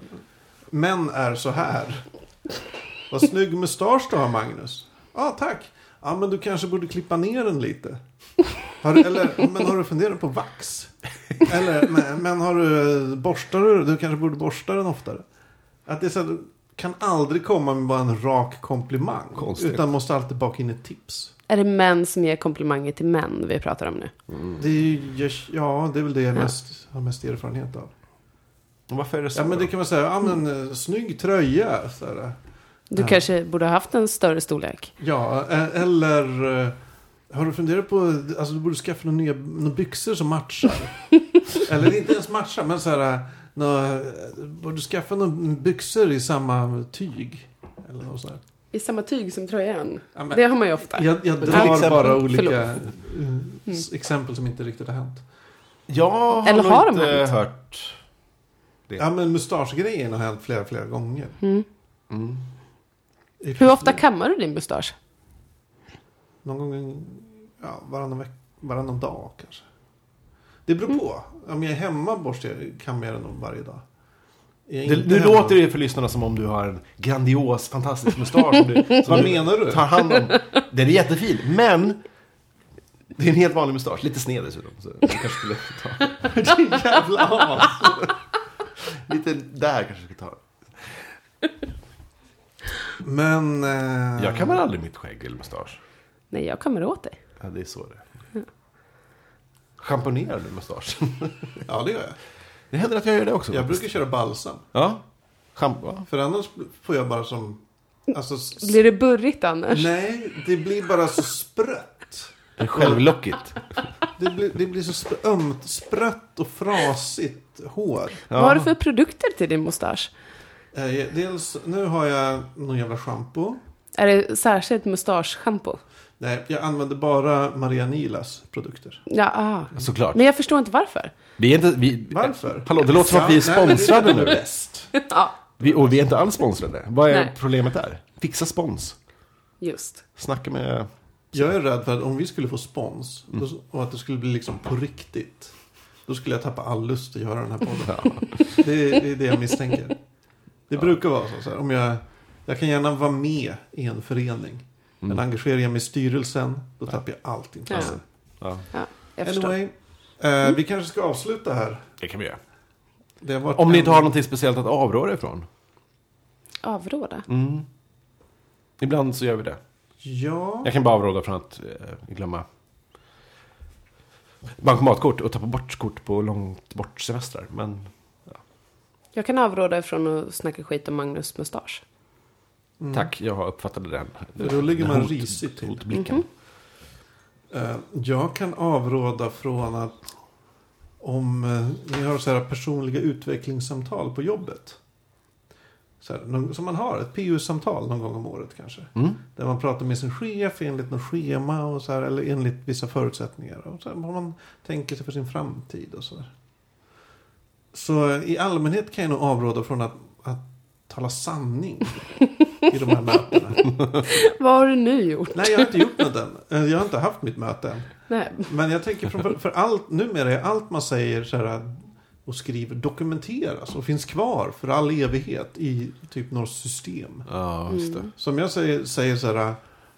Män är så här. Vad snygg mustasch du har, Magnus. Ja, tack. Ja, men du kanske borde klippa ner den lite. Har du, eller, men har du funderat på vax? Eller, men, men har du, borstar du Du kanske borde borsta den oftare. Att det är så här, du kan aldrig komma med bara en rak komplimang. Konstigt. Utan måste alltid baka in ett tips. Är det män som ger komplimanger till män vi pratar om nu? Mm. Det är, ju- ja, det är väl det jag mest, har mest erfarenhet av. Varför är det så? Ja men det kan man säga, ja men eh, snygg tröja. Så här. Du Ja. kanske borde ha haft en större storlek. Ja, eh, eller eh, har du funderat på, alltså du borde skaffa några nya några byxor som matchar. eller inte ens matchar, men så här, eh, nå- eh, borde skaffa några byxor i samma tyg. Eller något sånt. där. I samma tyg som tröjan. Ja, men- Det har man ju ofta. Jag, jag Till drar exempel- bara olika Förlåt. eh, s- exempel som inte riktigt har hänt. Jag har Eller nog har de inte hänt? hört... Ja men mustaschgrejen har hänt flera, flera gånger. Mm. Mm. I Hur princip ofta kammar du din mustasch? Någon gång ja, varannan, veck, varannan dag kanske. Det beror på. Om jag är hemma borstar jag, kan jag den nog varje dag. Är jag Det, inte nu hemma- låter det för lyssnarna som om du har en grandios, fantastisk mustasch. som du- som Vad du menar du? tar hand om. Den är jättefin, men det är en helt vanlig mustasch. Lite sned dessutom. Så jag kanske skulle ta. Din jävla as. Lite där kanske jag skulle ta. Men... Eh, Jag kan väl aldrig mitt skägg eller mustasch? Nej, jag kammar åt dig. Ja, det är så det är. Schamponerar du mustaschen? Ja, det gör jag. Det händer att jag gör det också. Jag faktiskt. brukar köra balsam. Ja. Schampo. För annars får jag bara som... Alltså, s- Blir det burrigt annars? nej, det blir bara så sprött. Det är självlockigt. Det blir, det blir så sp- ömt, sprött och frasigt hår. Ja. Vad har du för produkter till din mustasch? Eh, jag- dels, nu har jag någon jävla shampoo. Är det särskilt mustaschschampo? Nej, jag använder bara Maria Nilas produkter. Ja, ah. Såklart. Men jag förstår inte varför. Vi är inte... Vi, Varför? Hallå, det låter som att vi är Ja, nej, men det sponsrade det nu. bäst. ja, Vi, och vi är inte alls sponsrade. Vad är Nej. problemet där? Fixa spons. just. Snacka med... Jag är rädd för att om vi skulle få spons Mm. då- och att det skulle bli liksom på riktigt. Då skulle jag tappa all lust att göra den här podden. Ja. Det är, det är det jag misstänker. Det brukar vara så. så här, om jag, jag kan gärna vara med i en Mm. förening. Men engagerar jag mig i styrelsen, då tappar jag allt intresse. Ja. Jag förstår. Anyway, eh, vi kanske ska avsluta här. Det kan vi göra. Det har varit Om ni inte en- har någonting speciellt att avråda ifrån. Avråda. Mm. Ibland så gör vi det. Ja. Jag kan bara avråda från att eh, glömma bankomatkort och tappa bort kort på långt bort semestrar. Men Mm. Jag kan avråda från att snacka skit om Magnus mustasch. tack, jag uppfattade den. Då ligger Den man hot- risigt till. Hotblicken. Eh, Jag kan avråda från att om eh, ni har så här personliga utvecklingssamtal på jobbet. Så här, någon- som man har, ett PU-samtal någon gång om året kanske. Mm. Där man pratar med sin chef enligt något schema och så här, eller enligt vissa förutsättningar. Och så här, vad man tänker sig för sin framtid och så där. Så eh, i allmänhet kan jag nog avråda från att, att tala sanning i de här mötena. Vad har du nu gjort? Nej, jag har inte gjort något än. Eh, Jag har inte haft mitt möte än. Nej. Men jag tänker för, för allt, numera är allt man säger så här, och skriver dokumenteras och finns kvar för all evighet i typ något system. Ja, just Mm. det. Som jag säger, säger så här,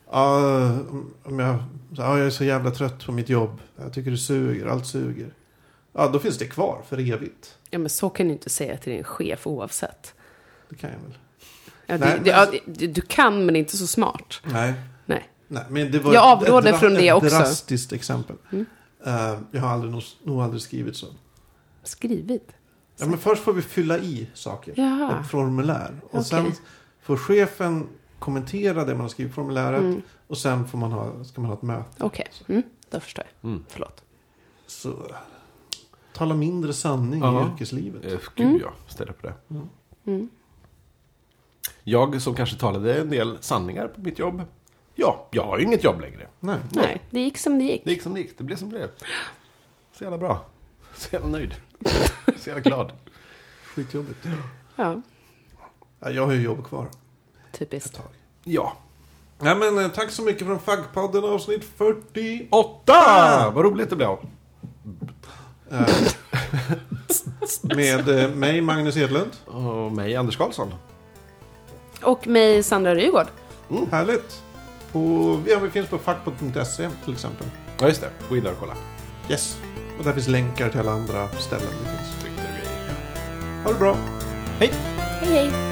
"Ah, om jag, så här, "Ah, jag är så jävla trött på mitt jobb, jag tycker det suger, allt suger. Ja, då finns det kvar för evigt. Ja, men så kan du inte säga till din chef oavsett. Det kan jag väl. Ja, Nej, det, men- det, ja, det, du kan, men inte så smart. Nej. Nej. Nej men det var Jag ett- avråder ett dra- från det ett också. drastiskt exempel. Mm. Eh, jag har aldrig, nog, nog aldrig skrivit så. Skrivit. Ja, men först får vi fylla i saker. Jaha. ett formulär. Och Okej. sen får chefen kommentera det man har skrivit i formuläret. Mm, Och sen får man ha, ska man ha ett möte. Okej, mm, då förstår jag. Mm. Förlåt. Så, Tala mindre sanning Ja. i yrkeslivet. Eh, Mm. Gud ja, ställer på det. Mm. Jag som kanske talade en del sanningar på mitt jobb. Ja, jag har ju inget jobb längre. Nej. Nej, det gick som det gick. Det gick som det gick, det blev som det blev. Så jävla bra. Så jävla nöjd. Så jävla glad. Skitjobbigt. Ja, Ja, jag har ju jobb kvar. Ett typiskt. tag. Ja. Nej, men, eh, tack så mycket från Faggpodden avsnitt 40. Åtta! Vad roligt det blev. Med eh, mig, Magnus Edlund. Och mig, Anders Karlsson. Och mig, Sandra Rygård. Härligt. På, ja, vi finns på fackpodd.se till exempel. Ja, just det. Gå in där och kolla. Yes. Och där finns länkar till alla andra ställen det finns. Twitter och grejer. Ha det bra. Hej! Hej, hej.